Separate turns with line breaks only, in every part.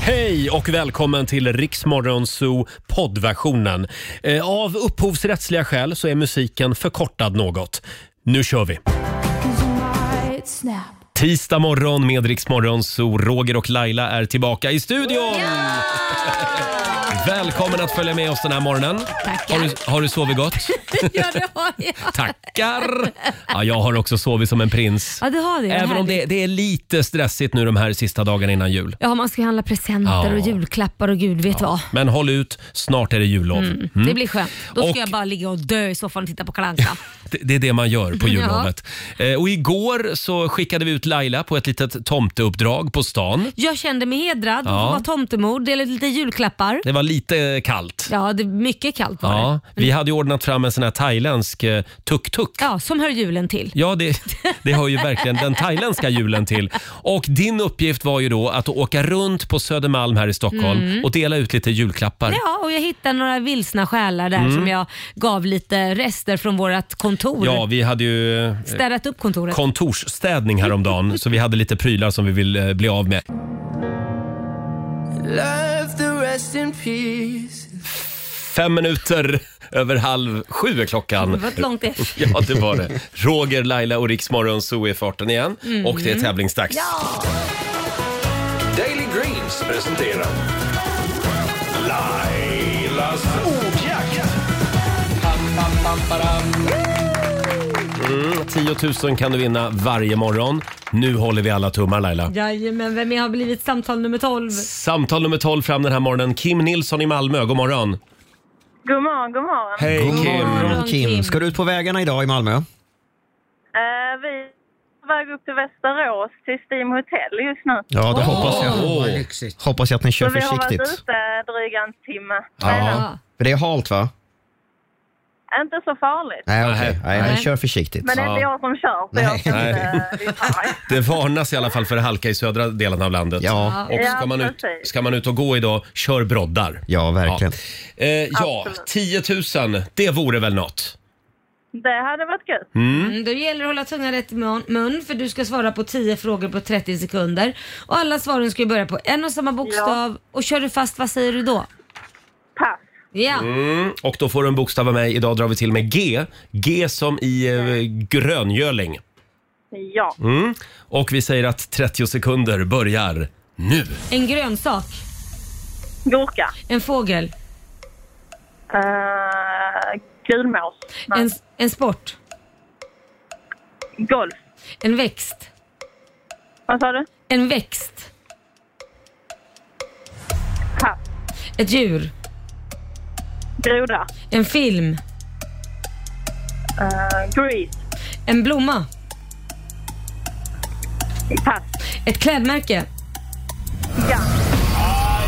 Hej och välkommen till Riksmorgon Zoo poddversionen. Eh, Av upphovsrättsliga skäl så är musiken förkortad något. Nu kör vi! Tisdag morgon med Riksmorgon Zoo. Roger och Laila är tillbaka i studion! Välkommen att följa med oss den här morgonen.
Tackar.
Har du, har du sovit gott?
ja, det har jag.
Tackar! Ja, jag har också sovit som en prins.
Ja, det har du.
Även om det, det är lite stressigt nu de här sista dagarna innan jul.
Ja, man ska handla presenter
Ja.
och julklappar och gud vet vad.
Men håll ut, snart är det jullov.
Mm.
Mm.
Det blir skönt. Då ska
Och-
jag bara ligga och dö i soffan och titta på Kalle Anka.
Det, det är det man gör på
Ja.
jullovet. Eh, och igår så skickade vi ut Laila på ett litet tomteuppdrag på stan.
Jag kände mig hedrad
Ja.
och var tomtemor, delade lite julklappar.
Det var lite kallt.
Ja, det är mycket kallt var
Ja,
det.
vi hade ju ordnat fram en sån här thailändsk eh, tuk-tuk.
Ja, som hör julen till.
Ja, det, det hör ju verkligen den thailändska julen till. Och din uppgift var ju då att åka runt på Södermalm här i Stockholm
Mm.
och dela ut lite julklappar.
Ja, och jag hittade några vilsna själar där
Mm.
som jag gav lite rester från vårt kontor.
Ja, vi hade ju eh,
Städat upp kontoret.
kontorsstädning häromdagen så vi hade lite prylar som vi ville eh, bli av med.
Love the rest in peace.
Fem minuter över halv sju är klockan.
Det var ett långt F.
Ja, det var det. Roger, Laila och Riksmorgon så är farten igen
Mm.
och det är tävlingsdags.
Daily Greens presenterar Lailas ordjakt.
Mm, 10 000 kan du vinna varje morgon. Nu håller vi alla tummar Laila.
Jajamän, vem jag har blivit samtal nummer 12?
Samtal nummer 12 fram den här morgonen. Kim Nilsson i Malmö, god morgon.
God morgon, god morgon.
Hej
God
Kim.
morgon,
Kim! Ska du ut på vägarna idag i Malmö?
Eh, vi är på väg upp till Västerås till Steam Hotel just nu.
Ja, det hoppas
Åh, vad
jag. Hoppas jag att ni kör
Så vi har varit
försiktigt.
ute dryga en timme.
Ja. För det är halt va?
Eh, Inte så farligt.
Nej, okej. Nej, men
Nej.
kör försiktigt.
Men det är inte jag som kör, så jag ska
Nej.
inte eh, vifta.
Det varnas i alla fall för halka i södra delen av landet.
Ja.
Och ska
Ja,
man, ut,
precis.
ska man ut och gå idag, kör broddar.
Ja, verkligen.
Ja, eh, ja 10 000, det vore väl något.
Det hade varit gött.
Mm.
Mm, då gäller det att hålla tungan rätt i mun- mun för du ska svara på 10 frågor på 30 sekunder. Och alla svaren ska ju börja på en och samma bokstav. Och kör du fast, vad säger du då? Pass. Ja.
Mm, och då får du en bokstav av mig. Idag drar vi till med G. G som i eh, gröngöling.
ja.
Mm. Och vi säger att 30 sekunder börjar nu.
En grönsak. Gurka. En fågel.
Eh,
Uh, Gulmås. En, en sport. Golf. En växt. Vad sa du? En växt. Pass. Ett djur. Groda. En film.
Eh,
Grease. En blomma. Pass. Ett klädmärke. Ja.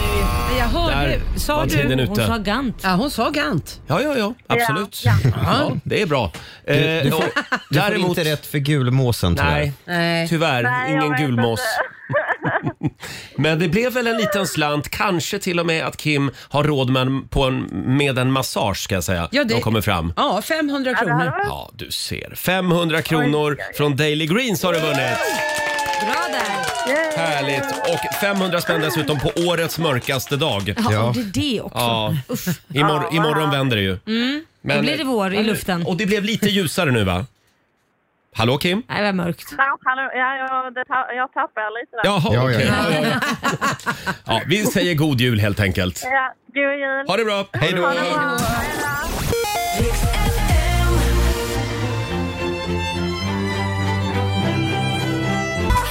Jag hörde.
Där
Sa
var
du?
tiden
Hon
ute.
sa Gant.
Ja, hon sa Gant.
Ja, ja, ja. Absolut. Ja,
Ja, ja.
det är bra. Eh,
Du, du får,
och
du får inte rätt för gulmåsen tyvärr.
Nej,
Nej.
tyvärr.
Nej, jag
ingen
vet
gulmås.
inte.
Men det blev väl en liten slant. Kanske till och med att Kim har råd med en, på en, med en massage ska jag säga.
Ja, det-
De kommer fram.
Ja, 500 kronor.
Ja, du ser. 500 kronor från Daily Greens har du vunnit.
Bra där.
Härligt! Och 500 spänn dessutom på årets mörkaste dag.
Ja, och det är det också.
Ja.
Uff.
Imor- imorgon vänder det ju.
Mm. Då blir det vår i luften.
Och det blev lite ljusare nu va? Hallå Kim?
Nej, vad mörkt.
Ja, hallå, ja, jag, det, ta- jag tappar lite där.
Jaha, ja, Ja, vi säger god jul helt enkelt.
Ja, god jul.
Ha det bra! Hej då!
Ha det bra.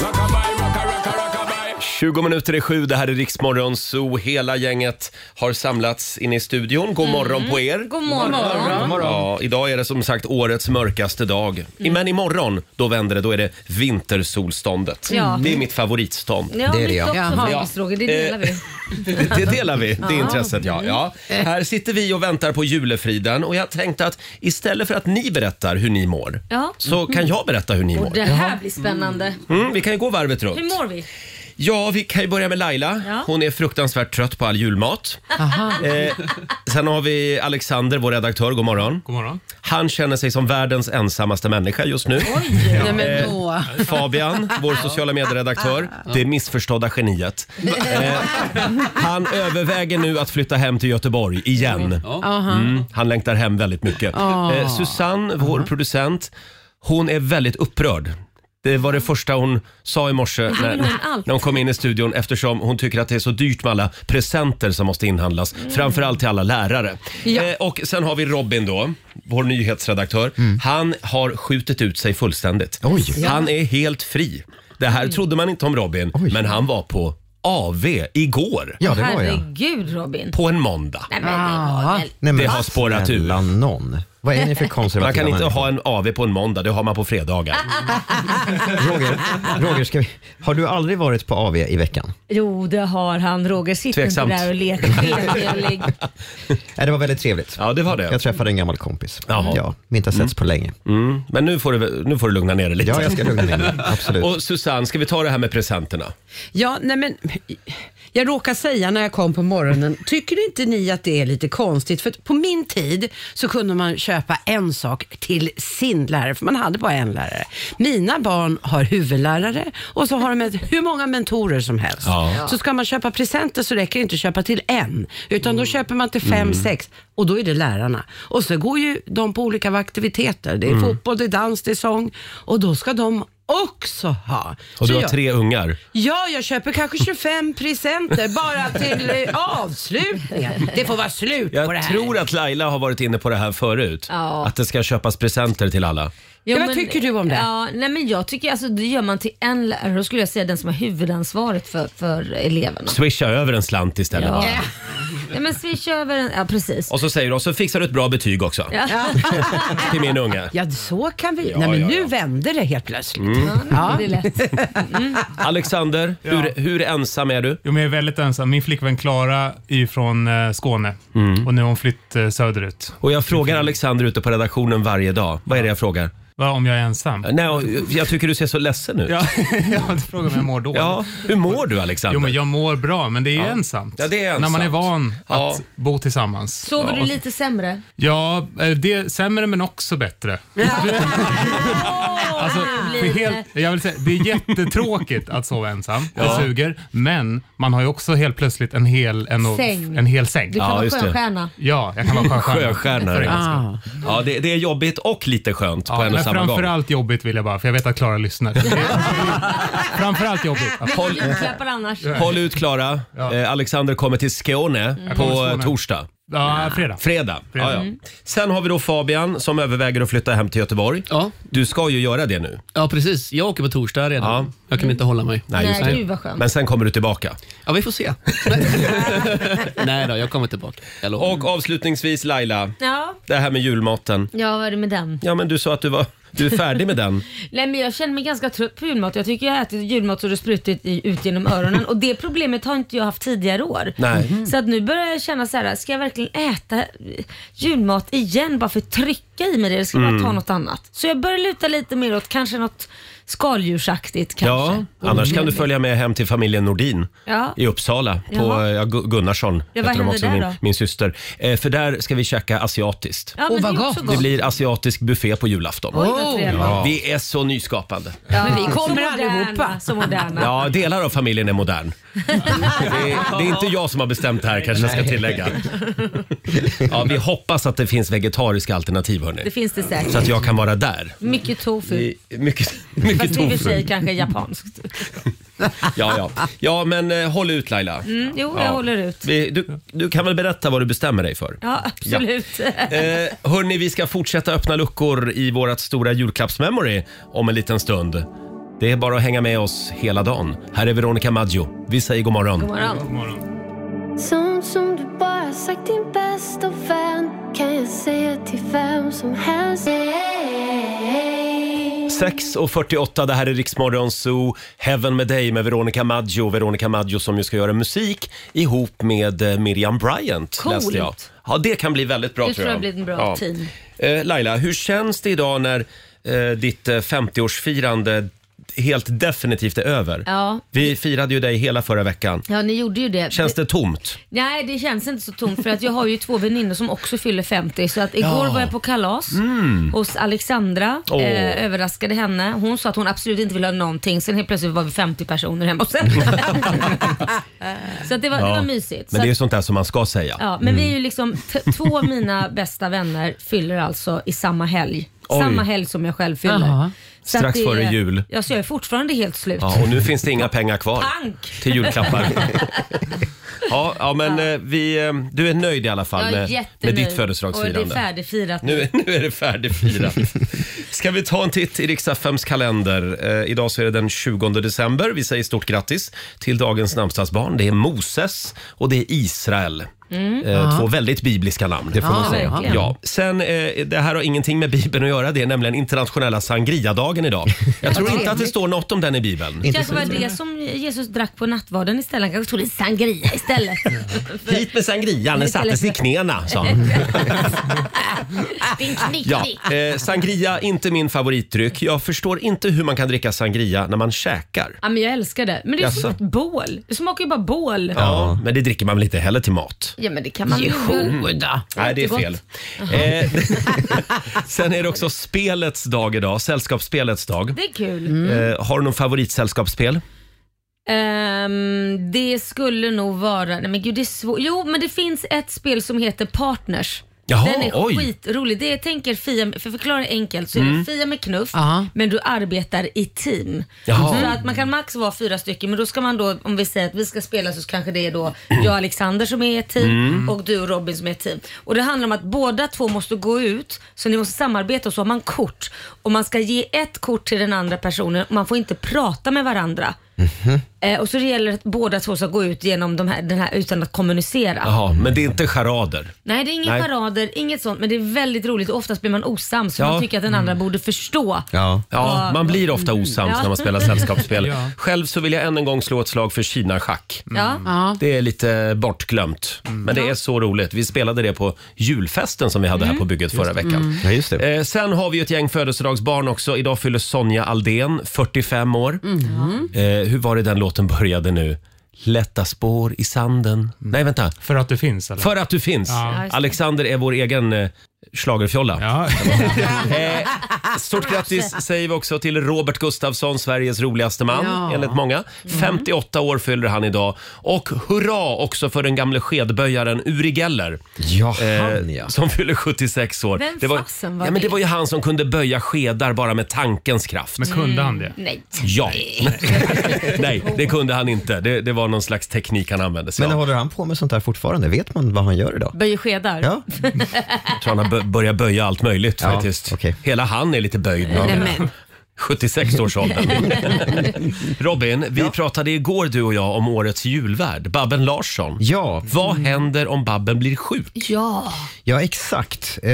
Rockabye, rocka, rocka, rockabye.
20 minuter i sju, det här är Riksmorgon Zoo. Hela gänget har samlats in i studion. God morgon på er!
God morgon. God morgon. God morgon.
Ja, idag är det som sagt årets mörkaste dag. Men imorgon, då vänder det. Då är det vintersolståndet.
Ja.
Det är mitt favoritstånd.
Ja, det är det, också faktiskt, Roger. Det delar
Eh,
vi.
Det, det delar vi, det
Ja.
intresset ja. ja. Här sitter vi och väntar på julefriden och jag tänkte att istället för att ni berättar hur ni mår
Ja. Mm.
så kan jag berätta hur ni
Och
mår.
det här blir spännande.
Mm, vi kan ju gå varvet runt.
Hur mår vi?
Ja, vi kan ju börja med Laila.
Ja.
Hon är fruktansvärt trött på all julmat. Eh, sen har vi Alexander, vår redaktör. God morgon. God morgon. Han känner sig som världens ensammaste människa just nu. Eh,
Nej men då.
Fabian, vår sociala medieredaktör, det missförstådda geniet. Eh, han överväger nu att flytta hem till Göteborg igen. Mm, han längtar hem väldigt mycket. Eh, Susanne, vår producent, hon är väldigt upprörd. Det var det första hon sa i morse när,
vill ha en allt.
när hon kom in i studion eftersom hon tycker att det är så dyrt med alla presenter som måste inhandlas. Framförallt till alla lärare.
Ja.
Eh, och sen har vi Robin då, vår nyhetsredaktör.
Mm.
Han har skjutit ut sig fullständigt. Han är helt fri. Det här trodde man inte om Robin, men han var på AV igår.
Ja, det var jag.
Herregud Robin.
På en måndag.
Nej men det var
Ah.
väl...
Nej, men
Det har spårat ur.
snälla nån. Vad är ni för konservativa
Man kan inte
människor?
ha en AV på en måndag, det har man på fredagar.
Roger, Roger ska vi... har du aldrig varit på AV i veckan?
Jo det har han Roger. Sitter
Tveksamt.
inte där och leker skenhelig.
Nej, det var väldigt trevligt.
Ja, det var det.
Jag träffade en gammal kompis.
Jaha.
Ja, vi inte har setts på länge.
Mm. Men nu får, du, nu får du lugna ner dig lite.
Ja, jag ska lugna ner mig. Absolut.
Och Susanne, ska vi ta det här med presenterna?
Ja, nej men, jag råkade säga när jag kom på morgonen, tycker inte ni att det är lite konstigt? För att på min tid så kunde man köpa en sak till sin lärare, för man hade bara en lärare. Mina barn har huvudlärare och så har de ett, hur många mentorer som helst.
Ja.
Så ska man köpa presenter så räcker det inte att köpa till en, utan
Mm.
då köper man till fem, sex och då är det lärarna. Och så går ju de på olika aktiviteter.
Mm.
Det är fotboll, det är dans, det är sång och då ska de också ha.
Och
Så
du har
jag-
tre ungar.
Ja, jag köper kanske 25 presenter bara till eh, avslutningen. Det får vara slut på det
Jag
här.
tror att Laila har varit inne på det här förut.
Ja.
Att det ska köpas presenter till alla.
Ja, vad tycker du om det?
Ja, nej men jag tycker alltså det gör man till en lärare. Då skulle jag säga den som har huvudansvaret för, för eleverna.
Swisha över en slant istället.
Ja. nej men swisha över en, ja precis.
Och så säger de, så fixar du ett bra betyg också.
Ja.
Till min unge.
Ja, så kan vi. Nej, men
ja, Mm.
nu
ja.
vände det helt plötsligt.
Ja, det är lätt.
Alexander, hur, hur ensam är du?
Jo, men jag är väldigt ensam. Min flickvän Klara är ju från eh, Skåne
Mm.
och nu har hon flytt eh, söderut.
Och jag frågar Alexander ute på redaktionen varje dag. Vad är det jag frågar?
Va, om jag är ensam?
Nej, jag tycker du ser så ledsen ut. Ja.
Ja, ja du frågar om jag mår dåligt.
Hur mår du
Jo,
Alexander?
men jag mår bra, men det är ju ensamt.
Ja, det är
När man är
ensamt.
van
Ja.
att bo tillsammans.
Sover
ja.
du lite sämre?
Ja, eh, det är sämre men också bättre.
Åh,
Alltså,
det
det,
blir
är
det.
helt, jag vill säga, det är jättetråkigt att sova ensam. Det suger. Men man har ju också helt plötsligt en hel, en och,
Säng.
En hel säng.
Du kan
Ja,
vara
just det.
skönstjärna.
Ja, jag kan vara sjöstjärna.
Sjöstjärna,
För
ja.
en gångs skull.
Ah.
Ja, det, det är jobbigt och lite skönt på
Ja,
en och
men
samma gång.
framförallt jobbigt vill jag bara, för jag vet att Klara lyssnar. Det är- framförallt jobbigt. Ja.
Håll,
Julklappar annars.
håll ut Klara. Eh, Alexander kommer till Skåne på
Mm. kommer till Skåne.
torsdag.
Ja, fredag.
Fredag.
Fredag.
Ja, ja. Sen har vi då Fabian som överväger att flytta hem till Göteborg.
Ja,
Du ska ju göra det nu.
ja, precis. Jag åker på torsdag redan.
Ja.
Jag kan inte hålla mig.
Nej, just det.
gud vad skönt.
Men sen kommer du tillbaka.
Ja, vi får se. Nej då, jag kommer tillbaka. Jag lovar.
Och avslutningsvis Laila,
Ja,
det här med julmaten.
ja, vad är det med den?
Ja, men du sa att du, var, du är färdig med den.
Nej men jag känner mig ganska trött på julmat. Jag tycker jag har ätit julmat så det har sprutit i, ut genom öronen och det problemet har inte jag haft tidigare år. Mm.
Nej.
Så att nu börjar jag känna så här: ska jag verkligen äta eh, julmat igen bara för att trycka i mig det? Eller ska jag
Mm.
bara ta något annat? Så jag börjar luta lite mer åt kanske något skaldjursaktigt
Ja,
kanske. Mm.
annars kan du följa med hem till familjen Nordin
Ja.
i Uppsala på
Jaha.
ja, Gu- Gunnarsson.
Ja, vad
heter de
händer där
min,
då?
min syster. Eh, för där ska vi käka asiatiskt.
Ja, men
Åh, vad
det är
gott.
också
Det blir asiatisk buffé på julafton.
Oj, vad trevligt.
Vi är så nyskapande.
Ja,
Men vi kommer
så moderna,
allihopa.
Så moderna.
Ja, delar av familjen är modern. Det är, det är inte jag som har bestämt det här kanske jag ska tillägga. Ja, vi hoppas att det finns vegetariska alternativ
Det
hörni.
finns det säkert.
Så att jag kan vara där.
Mycket tofu.
I- Mycket, mycket
Fast i och för
tofu.
sig kanske japanskt.
Ja, ja. ja, men eh, håll ut Laila.
Mm, jo, jag
Ja.
håller ut.
Vi, du, du kan väl berätta vad du bestämmer dig för?
Ja, absolut.
Eh, hörni, vi ska fortsätta öppna luckor i vårt stora julklappsmemory om en liten stund. Det är bara att hänga med oss hela dagen. Här är Veronica Maggio. Vi säger god morgon.
God morgon.
Sånt som du bara sagt din bästa vän kan jag säga till vem som helst. Hey.
6.48, det här är Riksmorgon Zoo. Heaven med dig med Veronica Maggio. Veronica Maggio som ju ska göra musik ihop med eh, Miriam Bryant.
Coolt.
läste jag. Ja, det kan bli väldigt bra
Det
tror
tror
jag.
jag blir en bra
ja.
team.
Eh, Laila, hur känns det idag när eh, ditt eh, 50-årsfirande helt definitivt är över.
Ja.
Vi firade ju dig hela förra veckan.
Ja, ni gjorde ju det.
Känns det tomt?
Nej, det känns inte så tomt för att jag har ju två väninnor som också fyller 50. Så att igår
Ja.
var jag på kalas
Mm.
hos Alexandra.
Åh.
Eh, överraskade henne. Hon sa att hon absolut inte ville ha någonting. Sen helt plötsligt var vi 50 personer hemma hos henne. så att det, var, det var
Men
mysigt. så
det är Mm. ju
att,
sånt där som man ska säga.
ja, men vi är ju liksom, t- två av mina bästa vänner fyller alltså i samma helg.
Oj.
Samma helg som jag själv fyller.
Jaha.
Så att
Strax
det är-
före jul.
Ja, så jag är fortfarande helt slut.
Ja, och nu finns det inga pengar kvar
Pank!
till julklappar. Ja, ja men eh, vi, eh, du är nöjd i alla fall
Jag är
med, med
jättenöjd.
ditt
Och det är
födelsedagsfirande.
färdigfirat
Nu, är- nu är det färdigfirat. Ska vi ta en titt i Riks-FMs kalender? Eh, idag så är det den 20 december. Vi säger stort grattis till dagens namnsdagsbarn. Det är Moses och det är Israel.
Mm.
Eh,
Ja.
Två väldigt bibliska namn.
Det får man Ja, säga. verkligen.
Ja. Sen, eh, det här har ingenting med Bibeln att göra. Det är nämligen internationella sangria-dagen idag. Jag tror inte att det står något om den i Bibeln.
Det kanske var det som Jesus drack på nattvarden istället. Han kanske tog lite sangria istället.
Hit med sangrian, den sattes i knäna, sa han.
Din knick,
Ja, eh, sangria, inte min favoritdryck. Jag förstår inte hur man kan dricka sangria när man käkar.
Ja, men jag älskar det. Men det är
Jaså?
som ett bål. Det smakar ju bara bål.
Ja, men det dricker man väl inte heller till mat?
Ja, men det kan man ju
Nej, det är fel. Eh, sen är det också spelets dag idag, sällskapsspelets dag.
Det är kul.
Eh, har du någon favoritsällskapsspel?
Ehm, det skulle nog vara... Nej men gud, det är svårt. Jo, men det finns ett spel som heter Partners.
Jaha,
Den är
oj.
skitrolig. Det är, tänker Fia, för att förklara enkelt så är det
Mm.
Fia med knuff,
Aha.
men du arbetar i team. Mm.
Jaha.
Så att man kan max vara fyra stycken, men då ska man då, om vi säger att vi ska spela så kanske det är då jag och Alexander som är ett team
Mm.
och du och Robin som är ett team. Och det handlar om att båda två måste gå ut, så ni måste samarbeta och så har man kort. Och man ska ge ett kort till den andra personen och man får inte prata med varandra.
Mhm.
Eh, och så det gäller att båda två ska gå ut genom de här, den här utan att kommunicera.
Jaha, men det är inte charader.
Nej, det är inga
Nej.
parader, inget sånt, men det är väldigt roligt och oftast blir man osams för
Ja. Mm.
man tycker att den andra borde förstå.
Ja.
Ja.
man blir ofta osams
Ja.
när man spelar sällskapsspel.
Ja.
Själv så vill jag än en gång slå ett slag för Kina-schack.
Ja. Ja.
Det är lite bortglömt,
Mm.
men det är så roligt. Vi spelade det på julfesten som vi hade här på bygget förra
det.
veckan.
Mm. Ja, just
Eh, sen har vi ju ett gäng födelsedagsbarn också. Idag fyller Sonja Aldén 45 år.
Mm.
Eh, hur var det den låten började nu? Lätta spår i sanden.
Mm.
Nej, vänta.
För att du finns eller?
För att du finns.
Ja. Ja, just det.
Alexander är vår egen eh, schlagerfjolla. eh, stort grattis säger vi också till Robert Gustafsson, Sveriges roligaste man
Ja.
enligt många.
Mm.
58 år fyller han idag. Och hurra också för den gamle skedböjaren Uri Geller. eh,
han, ja.
Som fyller 76 år.
Vem
det var,
fasen var
ja, men det
det?
var ju han som kunde böja skedar bara med tankens kraft. Men
Nej.
Ja. Nej, det kunde han inte. Det, det var någon slags teknik han använde sig
Men
av.
håller han på med sånt där fortfarande? Vet man vad han gör idag?
Böjer skedar.
Ja.
Jag tror han har bö- börjat böja allt möjligt
Ja,
faktiskt. Hela han är lite böjd nu.
Nej, men.
76 års ålder. Robin, vi pratade igår du och jag om årets julvärd, Babben Larsson.
Ja.
Vad händer om Babben blir sjuk?
Ja.
Ja, exakt. Eh,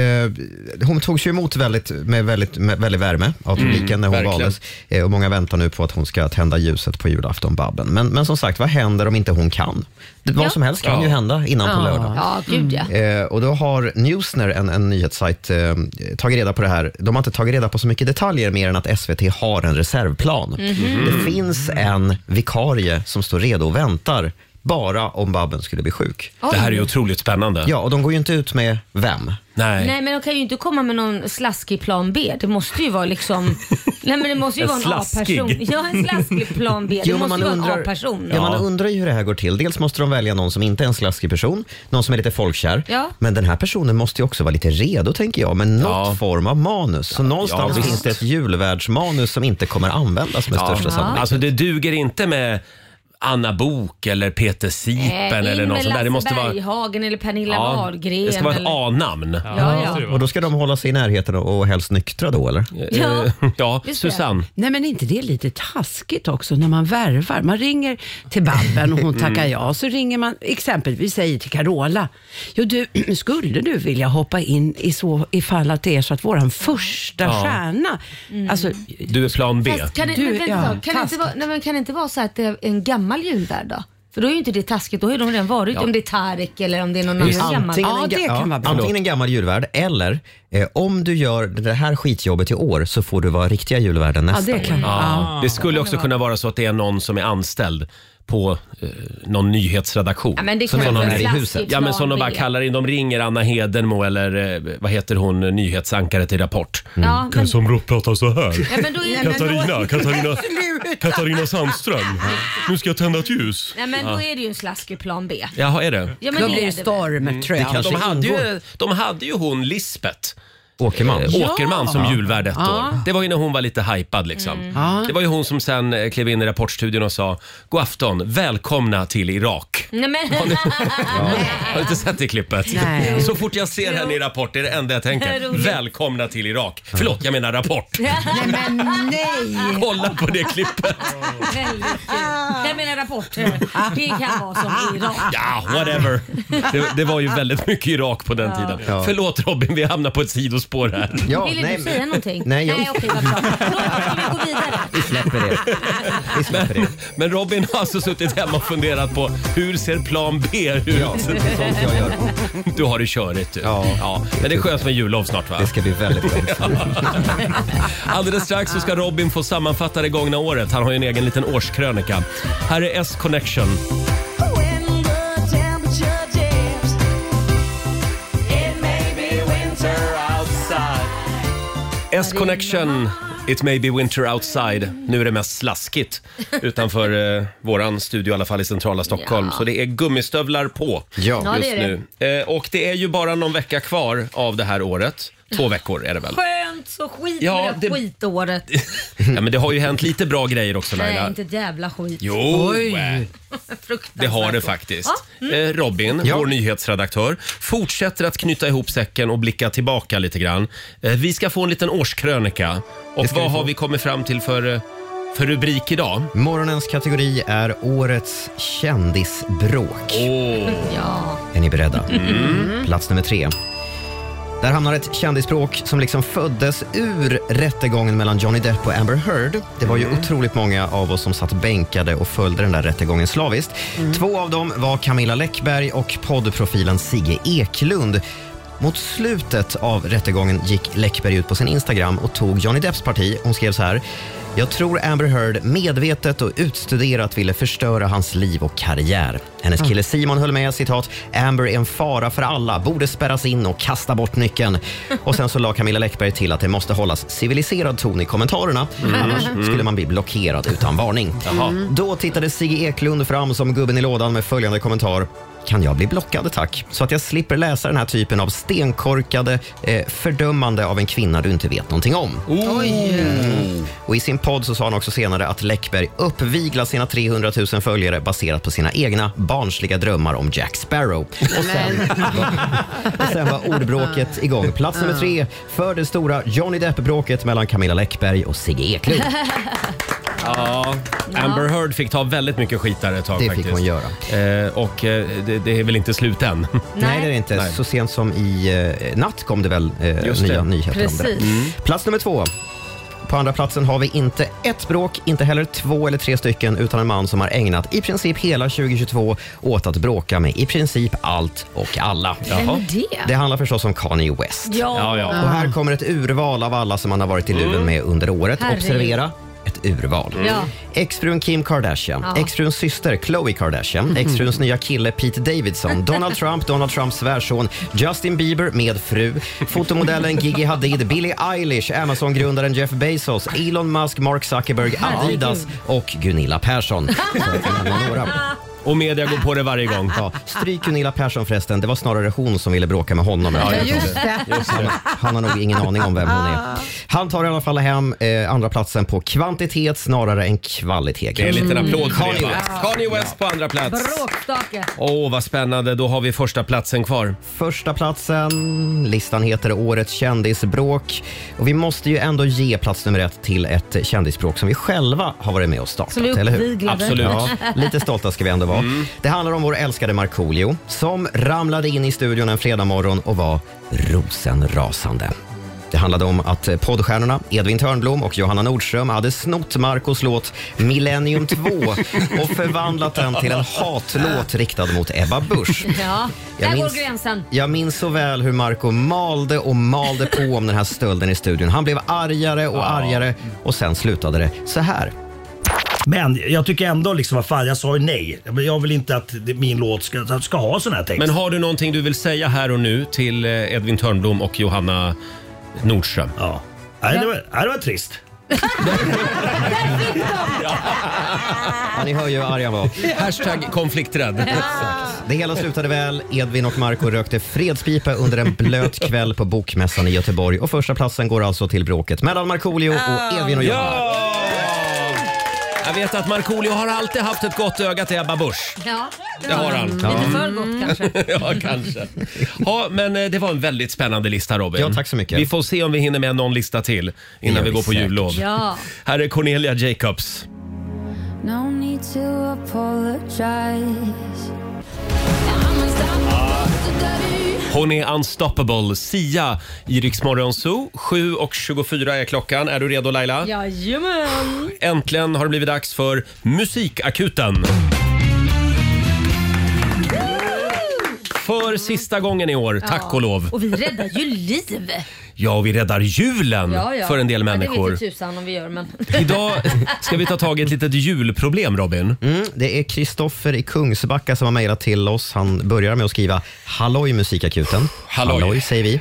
hon togs ju emot väldigt, med väldigt, med väldigt värme av
Mm,
publiken när hon
verkligen.
valdes. Eh, och många väntar nu på att hon ska tända ljuset på julafton, Babben. Men, men som sagt, vad händer om inte hon kan? Det, vad
Ja.
som helst kan
Ja.
ju hända innan på
Ja.
lördag.
Ja, gud,
Mm.
ja.
Eh, och då har Newsner, en, en nyhetssajt, eh, tagit reda på det här. De har inte tagit reda på så mycket detaljer mer än att SVT har en reservplan.
Mhm.
Det finns en vikarie som står redo och väntar bara om Babben skulle bli sjuk.
Oj. Det här är ju
otroligt spännande.
Ja, och de går ju inte ut med vem.
Nej.
Nej men de kan ju inte komma med någon slaskig plan B. Det måste ju vara liksom... Nej men det måste ju
En
vara en
slaskig.
A-person. Ja en slaskig plan B. Det
Jo, men
måste ju vara en
ja.
A-person.
man undrar ju hur det här går till. Dels måste de välja någon som inte är en slaskig person, någon som är lite folkkär.
Ja.
Men den här personen måste ju också vara lite redo, tänker jag, med något form av manus. Så någonstans
visst.
finns det ett julvärdsmanus som inte kommer användas med största sannolikhet.
Alltså det duger inte med Anna Bok eller Peter Sipen eller något sånt där. Det måste vara...
Berghagen eller Pernilla Wahlgren.
det ska vara ett
eller...
A-namn.
Ja, ja.
Och då ska de hålla sig i närheten och och helst nyktra då, eller?
Ja.
Eh, ja
Just det. Nej men inte det är lite taskigt också när man värvar. Man ringer till Babben och hon
Mm.
tackar ja. Så ringer man exempelvis säger till Carola. Jo du, skulle du vilja hoppa in i så ifall att det är så att våran första
Ja.
stjärna.
Mm.
Alltså,
Du är plan B.
Fast kan det,
Du,
men, vänta,
ja,
ett tag. kan, det inte
fast.
vara, nej, men kan det inte vara så att det är en gammal julvärd då? För då är ju inte det taskigt, då har ju de redan varit
Ja.
om det är Tarek eller om det är någon annan gammal.
Antingen, en, ga- ja, antingen en gammal julvärd eller eh, om du gör det här skitjobbet i år så får du vara riktiga julvärden
Ja,
nästa
det kan-
år.
ja.
Det skulle också kunna vara så att det är någon som är anställd på eh, någon nyhetsredaktion.
Ja, men det
som
kan
de
vara
är i
klassiskt
huset. Ja, men som de
plan
bara
B.
kallar in. De ringer Anna Hedenmo eller eh, vad heter hon, nyhetsankaret i Rapport.
Mm. Ja, men-
Roth pratar så här.
Ja, men då är- men då- Sluta.
Sandström. Nu ska jag tända ett ljus.
Nej men
Ja.
då är det ju en slaskig plan B.
Jaha, är det?
Ja, men Då det blir är det det storm, väl. tror jag.
Det kanske
De
de, hade
hade
ju, de hade ju hon Lisbeth. Åkerman.
Ja.
Åkerman som julvärd ett
Ja.
år. Det var ju när hon var lite hypad liksom.
Mm. Ja.
Det var ju hon som sen eh, klev in i Rapportstudion och sa God afton, välkomna till Irak.
Nej men...
Har du inte sett det klippet?
Nej.
Så fort jag ser henne i Rapport det är det enda jag tänker.
Roligt.
Välkomna till Irak. Förlåt, jag menar Rapport.
Nej men nej!
Kolla på det klippet.
Väldigt kul. Jag menar rapporter. Det kan vara som Irak.
Ja, whatever. Det, det var ju väldigt mycket Irak på den
Ja.
tiden.
Ja.
Förlåt Robin, vi hamnar på ett sidospår här.
Ville du säga någonting?
Nej, jag-
nej okej vad bra. Då ska vi gå vidare.
Vi släpper det. men, men Robin har alltså suttit hemma och funderat på hur ser plan B ut? Ja,
sånt jag gör.
Du har det körigt du. Ja. Men det är skönt med jullov snart va? Det
ska bli väldigt skönt.
Alldeles strax så ska Robin få sammanfatta det gångna året. Han har ju en egen liten årskrönika. Här är S-Connection. S-Connection, It may be winter outside. Nu är det mest slaskigt utanför eh, våran studio, i alla fall i centrala Stockholm. Så det är gummistövlar på
Ja,
just
det är
nu. Eh, och det är ju bara någon vecka kvar av det här året. Två veckor är det väl?
Skönt så skit
Ja,
med det
det-
här skitåret.
Ja, men det har ju hänt lite bra grejer också
Nej
Laila.
inte ett jävla skit.
Jo,
Oj.
Det har det faktiskt.
Ja, mm.
Eh, Robin, vår nyhetsredaktör, fortsätter att knyta ihop säcken och blicka tillbaka lite grann. Eh, Vi ska få en liten årskrönika. Och vad har vi kommit fram till för, eh, för rubrik idag?
Morgonens kategori är årets kändisbråk.
Ja.
Är ni beredda?
Mm.
Plats nummer tre. Där hamnar ett kändisbråk som liksom föddes ur rättegången mellan Johnny Depp och Amber Heard. Det var ju
Mm.
otroligt många av oss som satt bänkade och följde den där rättegången slaviskt.
Mm.
Två av dem var Camilla Läckberg och poddprofilen Sigge Eklund. Mot slutet av rättegången gick Läckberg ut på sin Instagram och tog Johnny Depps parti. Hon skrev så här. Jag tror Amber Heard medvetet och utstuderat ville förstöra hans liv och karriär.
Mm.
Hennes kille Simon höll med citat. Amber är en fara för alla, borde spärras in och kasta bort nyckeln. Och sen så la Camilla Läckberg till att det måste hållas civiliserad ton i kommentarerna.
Mm.
Annars
Mm.
skulle man bli blockerad utan varning.
Jaha.
Då tittade Sigge Eklund fram som gubben i lådan med följande kommentar. Kan jag bli blockad tack? Så att jag slipper läsa den här typen av stenkorkade eh, fördömande av en kvinna du inte vet någonting om. Mm. Och I sin podd så sa han också senare att Läckberg uppviglar sina 300 000 följare baserat på sina egna barnsliga drömmar om Jack Sparrow. Och sen, och sen var ordbråket igång. Plats nummer tre för det stora Johnny Depp-bråket mellan Camilla Läckberg och Sigge Eklund.
Ja, Amber Heard fick ta väldigt mycket skit där ett tag
Det fick
faktiskt.
hon
göra. Eh, och eh, det, det är väl inte slut än?
Nej, det är det inte.
Nej.
Så sent som i eh, natt kom det väl eh,
Just
nya
det.
nyheter om det.
Precis. Mm.
Plats nummer två. På andra platsen har vi inte ett bråk, inte heller två eller tre stycken, utan en man som har ägnat i princip hela 2022 åt att bråka med i princip allt och alla.
Vem är Jaha. det?
Det handlar förstås om Kanye West.
Ja. Ja, ja. Mm.
Och här kommer ett urval av alla som han har varit i luven med under året.
Herregud.
Observera, ett urval.
Ja.
Exfrun Kim Kardashian,
Ja.
exfruns syster Khloe
Mm.
Kardashian, exfruns nya kille Pete Davidson, Donald Trump, Donald Trumps svärson, Justin Bieber med fru, fotomodellen Gigi Hadid, Billie Eilish, Amazon-grundaren Jeff Bezos, Elon Musk, Mark Zuckerberg, Adidas och Gunilla Persson. Så det var några.
Och media går på det varje gång.
Ja, stryk Gunilla Persson förresten. Det var snarare hon som ville bråka med honom.
Ja,
Jag tror
just det. Just det. Ah.
Han, han har nog ingen aning om vem hon är. Han tar i alla fall hem eh, andra platsen på kvantitet snarare än kvalitet. Mm.
Det är en liten
kanske.
applåd för det.
Kanye West.
Kanye West på andra plats.
Bråkstake.
Åh, vad spännande. Då har vi första platsen kvar.
Första platsen. Listan heter Årets kändisbråk. Och vi måste ju ändå ge plats nummer ett till ett kändisbråk som vi själva har varit med och startat.
Som vi
eller hur?
uppviglade. Absolut.
Ja, lite stolta ska vi ändå vara. Det handlar om vår älskade Markoolio som ramlade in i studion en fredag morgon och var rosenrasande. Det handlade om att eh, poddstjärnorna Edvin Törnblom och Johanna Nordström hade snott Marcos låt Millennium 2 och förvandlat den till en hatlåt riktad mot Ebba Busch.
Ja,
Jag
där
minns-
går gränsen.
Jag minns så väl hur Marco malde och malde på om den här stölden i studion. Han blev argare och argare och sen slutade det så här.
Men jag tycker ändå liksom, vad fan, jag sa ju nej. Jag vill- Jag vill inte att det- min låt ska, ska ha sån här text.
Men har du någonting du vill säga här och nu till eh, Edvin Törnblom och Johanna Nordström?
Ja. Nej, det var, nej, det var trist.
Ja, ni hör ju hur arg han var.
Hashtag konflikträdd.
Det hela slutade väl. Edvin och Marco rökte fredspipa under en blöt kväll på Bokmässan i Göteborg och första platsen går alltså till bråket mellan Markoolio
Ah.
och Edvin och Johanna.
Ja! Jag vet att Markoolio har alltid haft ett gott öga till Ebba Busch.
Ja,
Det har han. Mm.
Lite för gott kanske.
ja, kanske. Ja, men eh, det var en väldigt spännande lista Robin.
Ja, tack så mycket.
Vi får se om vi hinner med någon lista till innan
gör
vi
vi
går på
säkert.
jullov.
Ja.
Här är Cornelia Jacobs.
No need to apologize.
Hon är unstoppable. Sia i Rix Morgon Zoo. 7.24 är klockan. Är du redo Laila?
Jajamän.
Äntligen har det blivit dags för Musikakuten. För sista gången i år, tack och lov.
Och vi räddar ju liv.
Ja, och vi räddar julen
Ja, ja.
för en del
Ja, det
människor.
vet ju tusan om vi gör men.
Idag ska vi ta tag i ett litet julproblem, Robin.
Mm, det är Kristoffer i Kungsbacka som har mejlat till oss. Han börjar med att skriva “Halloj musikakuten”.
Halloj.
säger vi.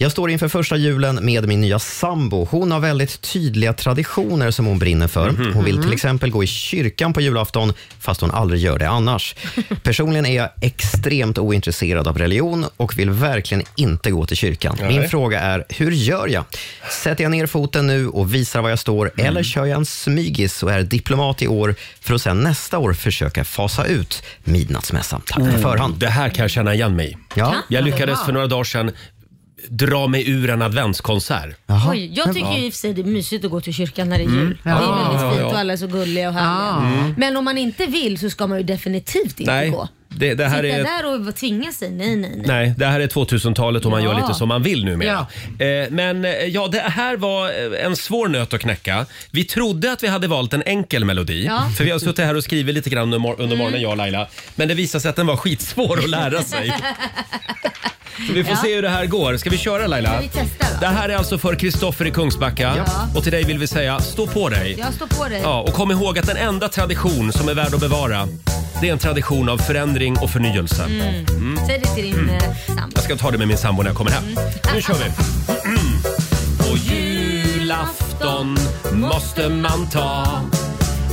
Jag står inför första julen med min nya sambo. Hon har väldigt tydliga traditioner som hon brinner för. Hon vill till exempel gå i kyrkan på julafton, fast hon aldrig gör det annars. Personligen är jag extremt ointresserad av religion och vill verkligen inte gå till kyrkan. Min
Nej.
fråga är, hur gör jag? Sätter jag ner foten nu och visar var jag står eller kör jag en smygis och är diplomat i år för att sen nästa år försöka fasa ut midnattsmässan? Tack på förhand.
Det här kan jag känna igen mig i.
Ja.
Jag lyckades för några dagar sedan dra mig ur en adventskonsert.
Jaha.
Oj, jag tycker ju i och för sig det är mysigt att gå till kyrkan när det är jul. Det
Mm. Ja,
är väldigt
ja,
fint
ja.
och alla är så gulliga och härliga. Men om man inte vill så ska man ju definitivt inte
Nej,
gå.
det, det här
Sitta
är...
där och tvinga sig, nej nej nej.
Nej, det här är 2000-talet och man gör
Ja.
lite som man vill numera. Eh, men eh, ja, det här var eh, en svår nöt att knäcka. Vi trodde att vi hade valt en enkel melodi,
Ja. Mm.
för vi har suttit här och skrivit lite grann under, mor- under morgonen, jag och Laila. Men det visade sig att den var skitsvår att lära sig. Så vi får se hur det här går. Ska vi köra Laila?
Ska vi testa då?
Det här är alltså för Kristoffer i Kungsbacka.
Ja.
Och till dig vill vi säga, stå på dig.
Jag står på dig.
Ja, och kom ihåg att den enda tradition som är värd att bevara, det är en tradition av förändring och förnyelse.
Mm. Säg det till din eh, sambo.
Jag ska ta det med min sambo när jag kommer hem.
Mm.
Nu kör vi! På julafton måste man ta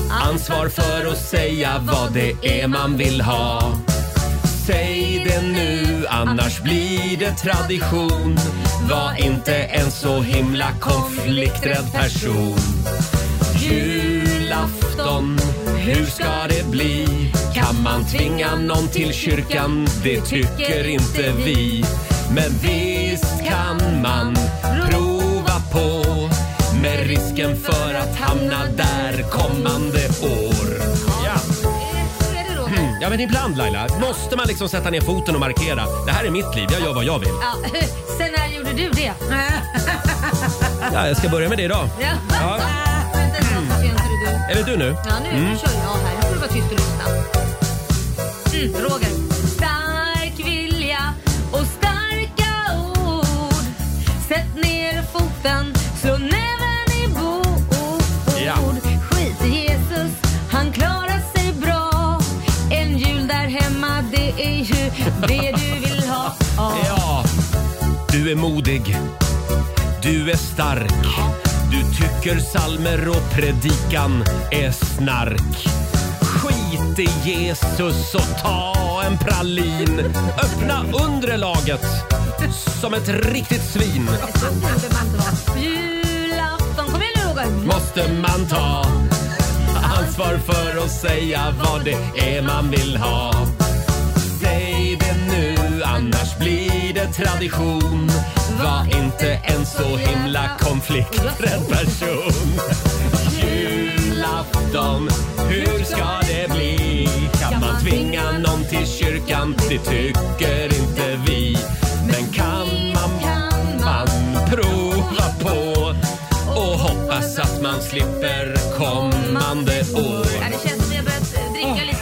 ansvar för att säga vad det är man vill ha. Säg det nu, annars blir det tradition. Var inte en så himla konflikträdd person. Julafton, hur ska det bli? Kan man tvinga någon till kyrkan? Det tycker inte vi. Men visst kan man prova på med risken för att hamna där kommande år. Ja.
Så är det Roger.
Ja men ibland Laila, måste man liksom sätta ner foten och markera. Det här är mitt liv, jag gör vad jag vill.
Ja, sen när gjorde du det?
Ja, jag ska börja med det idag.
Ja.
Ja.
Vänta, så ska jag inte du.
Är det du nu?
Ja, nu, nu kör jag här. Nu får du vara tyst och lyssna. Mm, Roger. Stark vilja och starka ord. Sätt ner foten, slå näven i bord.
Ja.
Skit i Jesus, han klarar sig bra. En jul där hemma, det är ju det du vill ha.
Ja. Du är modig. Du är stark. Du tycker salmer och predikan är snark. Skit i Jesus och ta en pralin. Öppna underlaget som ett riktigt svin.
Julafton, kom igen nu Roger.
måste man ta ansvar för att säga vad det är man vill ha. Säg det nu, annars blir det tradition. Var inte en så himla konflikträdd person. Julafton, hur ska det bli? Kan man tvinga någon till kyrkan? Det tycker inte vi. Men kan man, kan man prova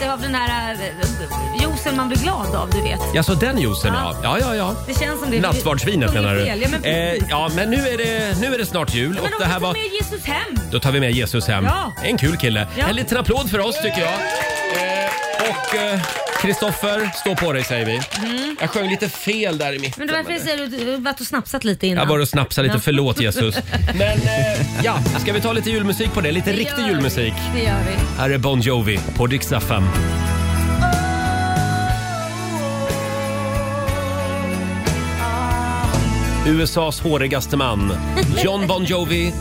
Mm.
den här eh, juicen man blir glad av, du vet.
Ja, så den juicen ja. Ja, ja, ja.
Det känns som det.
Nattvardsvinet
Det är
menar du?
fel, Ja, men,
Eh, ja, men nu är det, nu är det snart jul och
men
det här var...
med Jesus hem.
Då tar vi med Jesus hem.
Ja.
En kul kille.
Ja.
En liten applåd för oss tycker jag. Eh, och Kristoffer, stå på dig säger vi.
Mm.
Jag sjöng lite fel där i mitten.
Men det var därför jag säger att du har varit och snapsat lite innan.
Jag var och snapsade lite.
Ja.
Förlåt Jesus. Men eh, ja, ska vi ta lite julmusik på det? Lite
Det
riktig
gör
julmusik.
Det gör vi.
Här är Bon Jovi på Dix FM. USAs hårigaste man, John Bon Jovi.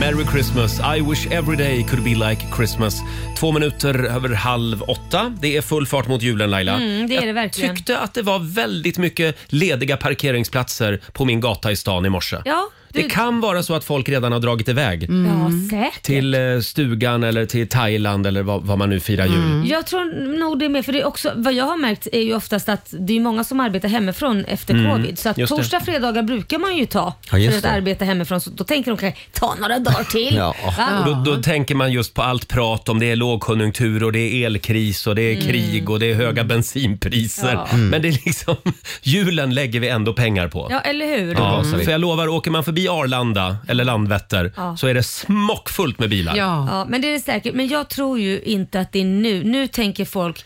Merry Christmas, I wish every day could be like Christmas. Två minuter över halv åtta. Det är full fart mot julen Laila.
Mm, det är det verkligen.
tyckte att det var väldigt mycket lediga parkeringsplatser på min gata i stan i morse.
Ja, du-
Det kan vara så att folk redan har dragit iväg
Ja, säkert.
till eh, stugan eller till Thailand eller vad, vad man nu firar jul.
Jag tror nog det är med, för det är också, vad jag har märkt är ju oftast att det är många som arbetar hemifrån efter
Mm,
covid. Så att
just det.
torsdag, fredagar brukar man ju ta
Ja, just
för att
det.
arbeta hemifrån. Så då tänker de kanske, ta några dagar till. Va?
Och då, då tänker man just på allt prat om det är lågkonjunktur och det är elkris och det är krig och det är höga bensinpriser.
Mm. Ja. Mm.
Men det är liksom, julen lägger vi ändå pengar på.
Ja, eller hur?
Ja, För jag lovar, åker man förbi Arlanda eller Landvetter
Ja.
så är det smockfullt med bilar.
Ja, men det är det säkert. Men jag tror ju inte att det är nu. Nu tänker folk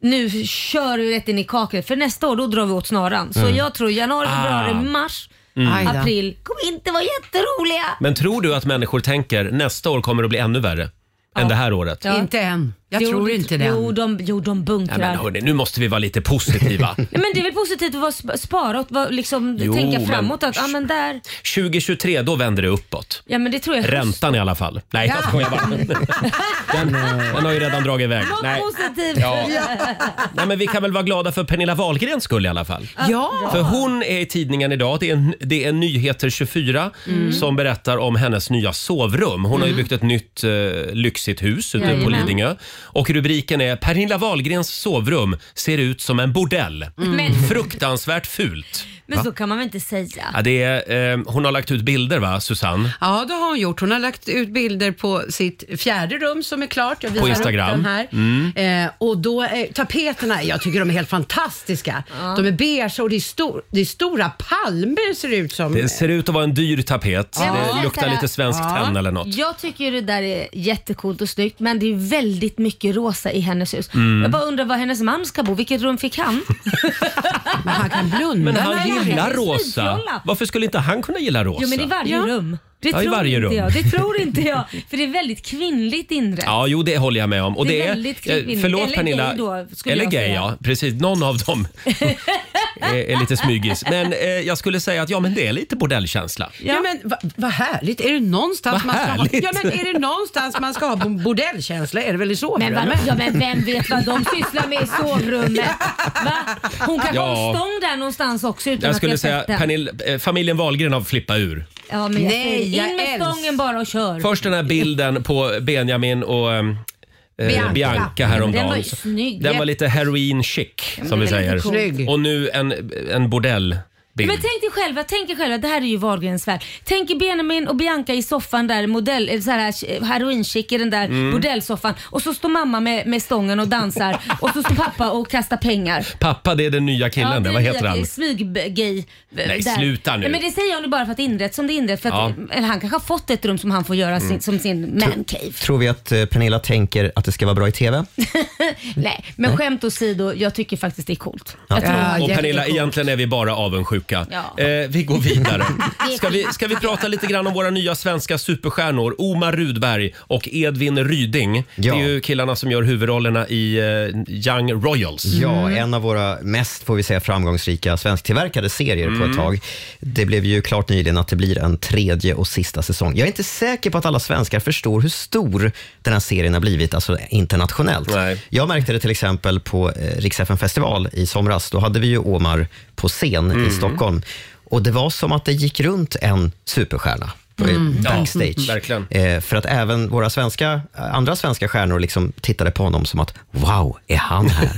nu kör vi rätt in i kaklet för nästa år då drar vi åt snaran. Så
Mm.
jag tror januari,
Ah.
februari, mars,
Mm. Aj då.
april kommer inte vara jätteroliga.
Men tror du att människor tänker nästa år kommer att bli ännu värre än det här året?
Inte än. Jag
tror inte det
Jo,
än.
de, jo, de bunkrar.
Ja, men hörni, nu måste vi vara lite positiva.
Nej, men det är väl positivt att vara sp- spara och vara- liksom
Jo, men-
tänka framåt att, ja men där,
2023, då vänder det uppåt.
ja men det tror jag.
Räntan i alla fall. Nej, jag skojar bara. Den, eh, den har ju redan dragit iväg.
Var
Nej.
positiv.
Ja. Nej, men vi kan väl vara glada för Pernilla Wahlgrens skull i alla fall.
Ja.
För hon är i tidningen idag. Det är, det är Nyheter 24
Mm.
som berättar om hennes nya sovrum. Hon har ju
Mm.
byggt ett nytt eh, lyxigt hus ute på
Jajamän.
Lidingö. Och rubriken är Pernilla Wahlgrens sovrum ser ut som en bordell.
Mm. Men-
Fruktansvärt fult.
Men
Va?
så kan man väl inte säga.
Ja, det är, eh, hon har lagt ut bilder va, Susanne?
Ja, det har hon gjort. Hon har lagt ut bilder på sitt fjärde rum som är klart. Jag visar
På Instagram.
upp den här.
Mm.
Eh, och då, eh, tapeterna, jag tycker de är helt fantastiska. De är beige och det är, stor, det är stora palmer ser det ut som.
Det ser ut att vara en dyr tapet.
Jag måste
Det
säga
luktar
så här-
lite svenskt tenn eller något.
Jag tycker ju det där är jättecoolt och snyggt men det är väldigt mycket rosa i hennes hus.
Mm.
Jag bara undrar var hennes man ska bo. Vilket rum fick han?
han kan blunda.
Men han gillar rosa. Varför skulle inte han kunna gilla rosa?
Jo men i varje
ja.
rum. Det
Ja, i
tror
varje
inte
rum.
jag. Det tror inte jag. För det är väldigt kvinnligt inrett.
Ja, jo det håller jag med om. Och
Det är
det är,
väldigt
eh,
kvinnligt.
förlåt
Eller
Pernilla.
gay då, skulle
eller
jag
gay
säga.
ja. Precis, någon av dem är, är lite smygis. Men eh, jag skulle säga att ja men det är lite bordellkänsla.
Ja. men vad vad härligt. Är det någonstans
Vad
man ska
härligt.
ha... Ja, men är det någonstans man ska ha bo- bordellkänsla? Är det väl i
Men,
sovrummet?
vad, ja, men vem vet vad de sysslar med i sovrummet? Va? Hon kan
Ja.
ha en stång där någonstans också utan
Jag
att
skulle
jag
säga
sett den.
Pernilla, eh, familjen Wahlgren har flippat ur.
Ja, men jag
Nej,
säger det.
jag
In med
älsk-
stången bara och kör.
Först den här bilden på Benjamin och eh, Bianca. Bianca häromdagen.
Den var ju snygg.
Den var lite heroin chic
men
som vi
den var lite
säger.
cool. Snygg.
Och nu en, en bordell.
Ja, Men tänk dig själva, tänk er själva, det här är ju Wahlgrens värld. Tänk er Benjamin och Bianca i soffan där, modell, eh, så här, heroinchic i den där
Mm.
bordellsoffan och så står mamma med, med stången och dansar och så står pappa och kastar pengar.
Pappa, det är den nya killen där. Vad heter han?
eh, Smyggay.
Nej, sluta nu.
Men det säger jag nu bara för att det är inrätt som det är inrätt. För att, eh,
Ja.
eller han kanske har fått ett rum som han får göra
Mm.
sin, som sin mancave.
Tror vi att eh, Pernilla tänker att det ska vara bra i TV?
Nej, men skämt åsido, jag tycker faktiskt det är coolt. Jag tror-
och Pernilla,
jättecoolt.
egentligen är vi bara avundsjuka.
Ja.
Eh, vi går vidare.
är
Ska vi, ska vi prata lite grann om våra nya svenska superstjärnor Omar Rudberg och Edvin Ryding. Det är ju killarna som gör huvudrollerna i eh, Young Royals.
Ja,
Mm.
en av våra mest, får vi säga, framgångsrika svensktillverkade serier på
Mm.
ett tag. Det blev ju klart nyligen att det blir en tredje och sista säsong. Jag är inte säker på att alla svenskar förstår hur stor den här serien har blivit, alltså internationellt. Jag märkte det till exempel på eh, Rix FM festival i somras. Då hade vi ju Omar på scen i
Mm.
Stockholm. Och det var som att det gick runt en superstjärna på och är
Mm. Ja,
backstage.
verkligen.
Eh, för att även våra svenska, andra svenska stjärnor liksom tittade på honom som att wow, är han här?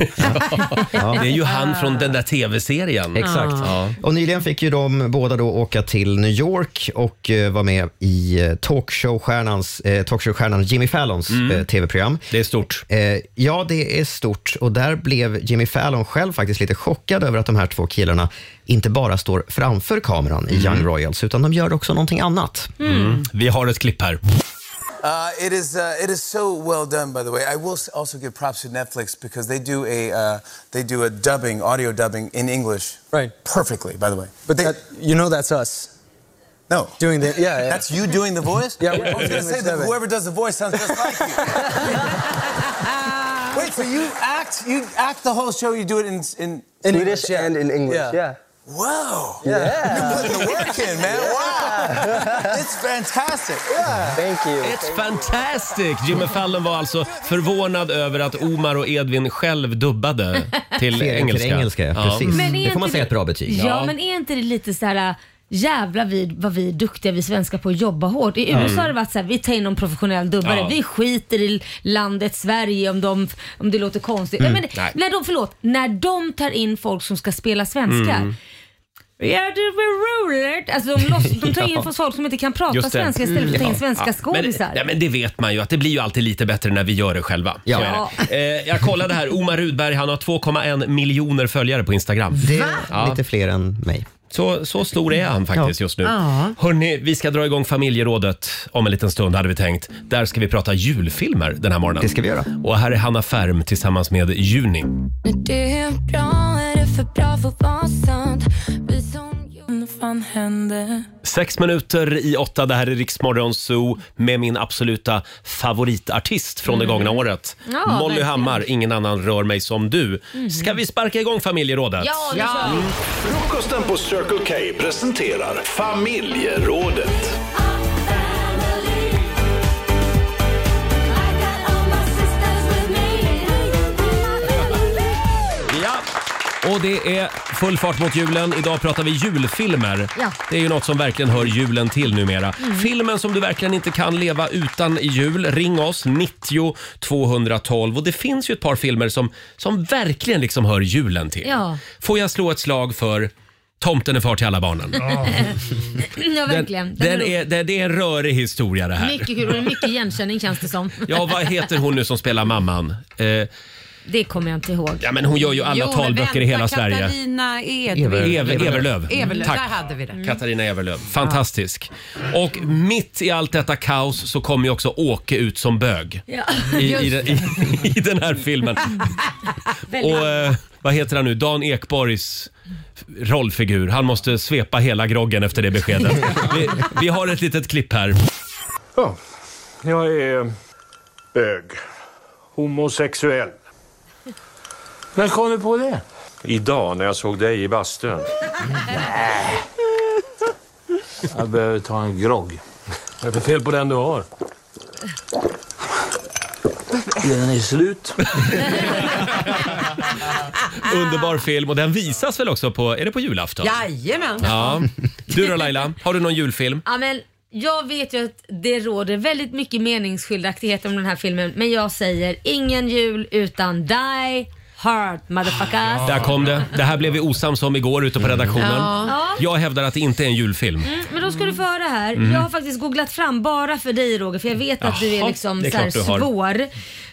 Det är ju han från den där tv-serien.
Exakt.
Ja.
Och nyligen fick ju de båda då åka till New York och eh, vara med i eh, talkshowstjärnans, eh, talkshowstjärnan Jimmy Fallons eh, tv-program.
Mm. Det är stort.
Eh, ja, det är stort. Och där blev Jimmy Fallon själv faktiskt lite chockad över att de här två killarna inte bara står framför kameran i Young Royals, utan de gör också någonting annat.
Mm. Vi har ett klipp här.
Uh, it is uh, it is so well done, by the way. I will s- also give props to Netflix because they do a uh, they do a dubbing, audio dubbing in English, right? Perfectly, by the way. But they, you know that's us. No, doing the yeah. That's you doing the voice.
Yeah, we're
I was
doing
gonna say
the
that
dubbing.
whoever does the voice sounds just like you. Wait, so you act you act the whole show? You do it in in
Swedish and in English, yeah.
Wow.
Yeah.
You're putting the work in, man. Wow. it's fantastic. Yeah. Thank you.
It's fantastic! Jimmy Fallon var alltså förvånad över att Omar och Edvin själv dubbade till
Serien till
engelska. Mm.
engelska, precis.
Men är
Det får man
inte
säga ett bra betyg.
Ja, men är inte det lite så här äh, jävla vi, vad vi är duktiga vi svenskar på att jobba hårt. I
Ja.
USA har det varit så här, vi tar in någon professionell dubbare.
Mm. Ja.
Vi skiter i landet Sverige om, de, om det låter konstigt.
Mm,
Nej,
nej.
men, när de, förlåt, när de tar in folk som ska spela svenska.
Mm.
Ja, det var roligt. Alltså de, loss, de tar in
Ja.
folk som inte kan prata
Just det.
svenska istället för att ta in
Ja.
svenska
Ja,
skådisar.
Men, ja, men det vet man ju att det blir ju alltid lite bättre när vi gör det själva. Så
Ja.
är det. Eh, jag kollade här, Omar Rudberg han har 2,1 miljoner följare på Instagram.
Det är lite fler än mig.
Så, så stor är han faktiskt just nu.
Ja.
Hörni, vi ska dra igång familjerådet om en liten stund hade vi tänkt. Där ska vi prata julfilmer den här morgonen. Det ska
vi göra.
Och här är Hanna Färm tillsammans med Juni.
När du är bra är det för bra för att vara sant Vi som gjorde fan hände
Sex minuter i åtta, det här är Riksmorgon Zoo med min absoluta favoritartist från det gångna året.
Mm. Ja,
Molly
verkligen. Mm.
Hammar, Ingen annan rör mig som du. Ska vi sparka igång familjerådet?
Ja, det kör vi.
Frukosten på Circle K presenterar familjerådet.
Ja. Och det är full fart mot julen. Idag pratar vi julfilmer.
Ja.
Det är ju något som verkligen hör julen till numera.
Mm.
Filmen som du verkligen inte kan leva utan i jul, ring oss 90 212. Och det finns ju ett par filmer som, som verkligen liksom hör julen till.
Ja.
Får jag slå ett slag för Tomten är far till alla barnen?
Mm, ja, verkligen.
Den, den
rolig.
är, det, det är en rörig historia det här.
Mycket kul och det är mycket igenkänning känns det som.
Ja, vad heter hon nu som spelar mamman? Eh,
Det kommer jag inte ihåg.
ja, men hon gör ju alla
Jo, men
talböcker i
vänta,
hela Sverige.
Katarina
Ever-
Edvin.
Ever- Everlöv.
Everlöv,
Tack.
där hade vi det.
Katarina Everlöv. Mm. Fantastisk. Och mitt i allt detta kaos så kommer ju också Åke ut som bög.
Ja,
I, i,
just
den- i, I den här filmen.
Väldigt.
Och eh, vad heter han nu? Dan Ekborgs rollfigur. Han måste svepa hela groggen efter det beskedet. Vi, vi har ett litet klipp här.
Oh,
Ja, jag
eh,
är bög. Homosexuell. När kom du på det?
Idag när jag såg dig i bastun.
Jag behöver ta en grogg. Vad är det för fel på den du har? Den är slut.
Ah.
Underbar film och den visas väl också på, är det på julafton?
Jajamän.
Ja. Du då Laila, har du någon julfilm?
Ja, men jag vet ju att det råder väldigt mycket meningsskiljaktigheter om den här filmen men jag säger ingen jul utan Die Hard motherfuckers.
Där kom det. Det här blev vi osams om igår ute på redaktionen.
Ja.
Jag hävdar att det inte är en julfilm.
Mm, men då ska du få höra här.
Mm.
Jag har faktiskt googlat fram bara för dig Roger för jag vet att du är
Jaha,
liksom
det är
så här
klart du har.
svår.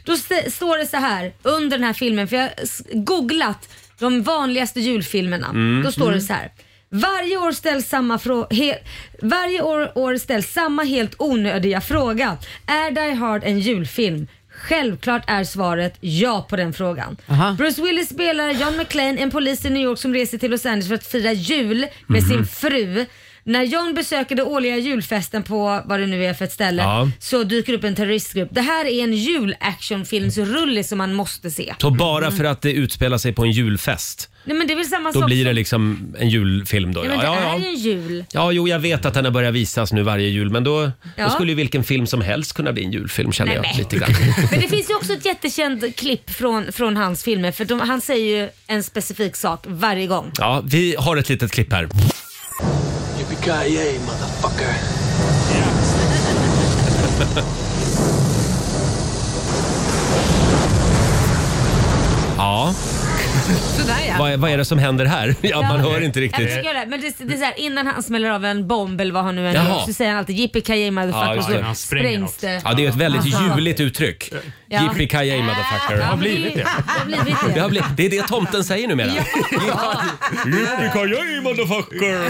Då st- står det så här under den här filmen för jag har s- googlat de vanligaste julfilmerna.
Mm.
Då står
Mm.
det så här. Varje år ställs samma frå- he- Varje år, år ställs samma helt onödiga fråga. Är Die Hard en julfilm? Självklart är svaret ja på den frågan. Bruce Willis spelar John McClane, en polis i New York som reser till Los Angeles för att fira jul med
Mhm.
sin fru. När John besöker den årliga julfesten på vad det nu är för ett ställe
Ja.
så dyker upp en terroristgrupp. Det här är en julactionfilmsrulle som man måste se.
Så bara för att det utspelar sig på en julfest,
Nej men det är väl samma
då
sak
blir
som-
det liksom en julfilm då?
Ja, men
Ja, ja,
det är ju
ja.
en jul.
Ja, jo, jag vet att den har börjat visas nu varje jul, men då,
Ja.
då skulle ju vilken film som helst kunna bli en julfilm känner
Nej,
jag
men.
lite grann.
Men det finns ju också ett jättekänt klipp från, från hans filmer för de, han säger ju en specifik sak varje gång.
Ja, vi har ett litet klipp här.
Yippee-ki-yay, motherfucker.
Ja,
Sådär ja.
vad, är- vad är det som händer här? Ja, man hör inte
Jag
riktigt.
försöker göra det, men det, det är så här, innan han smäller av en bomb eller vad han nu än
Jaha.
gör så säger han alltid jippi kaje
Ja, just
motherfucker
det.
ja, så sprängs det.
Ja, det är ett väldigt
Alltså,
ljuvligt uttryck.
Ja.
Yippee ki motherfucker.
Det har blivit det. det har blivit det.
Det, har blivit, det är det tomten säger numera. Yippee-ki-yay motherfucker!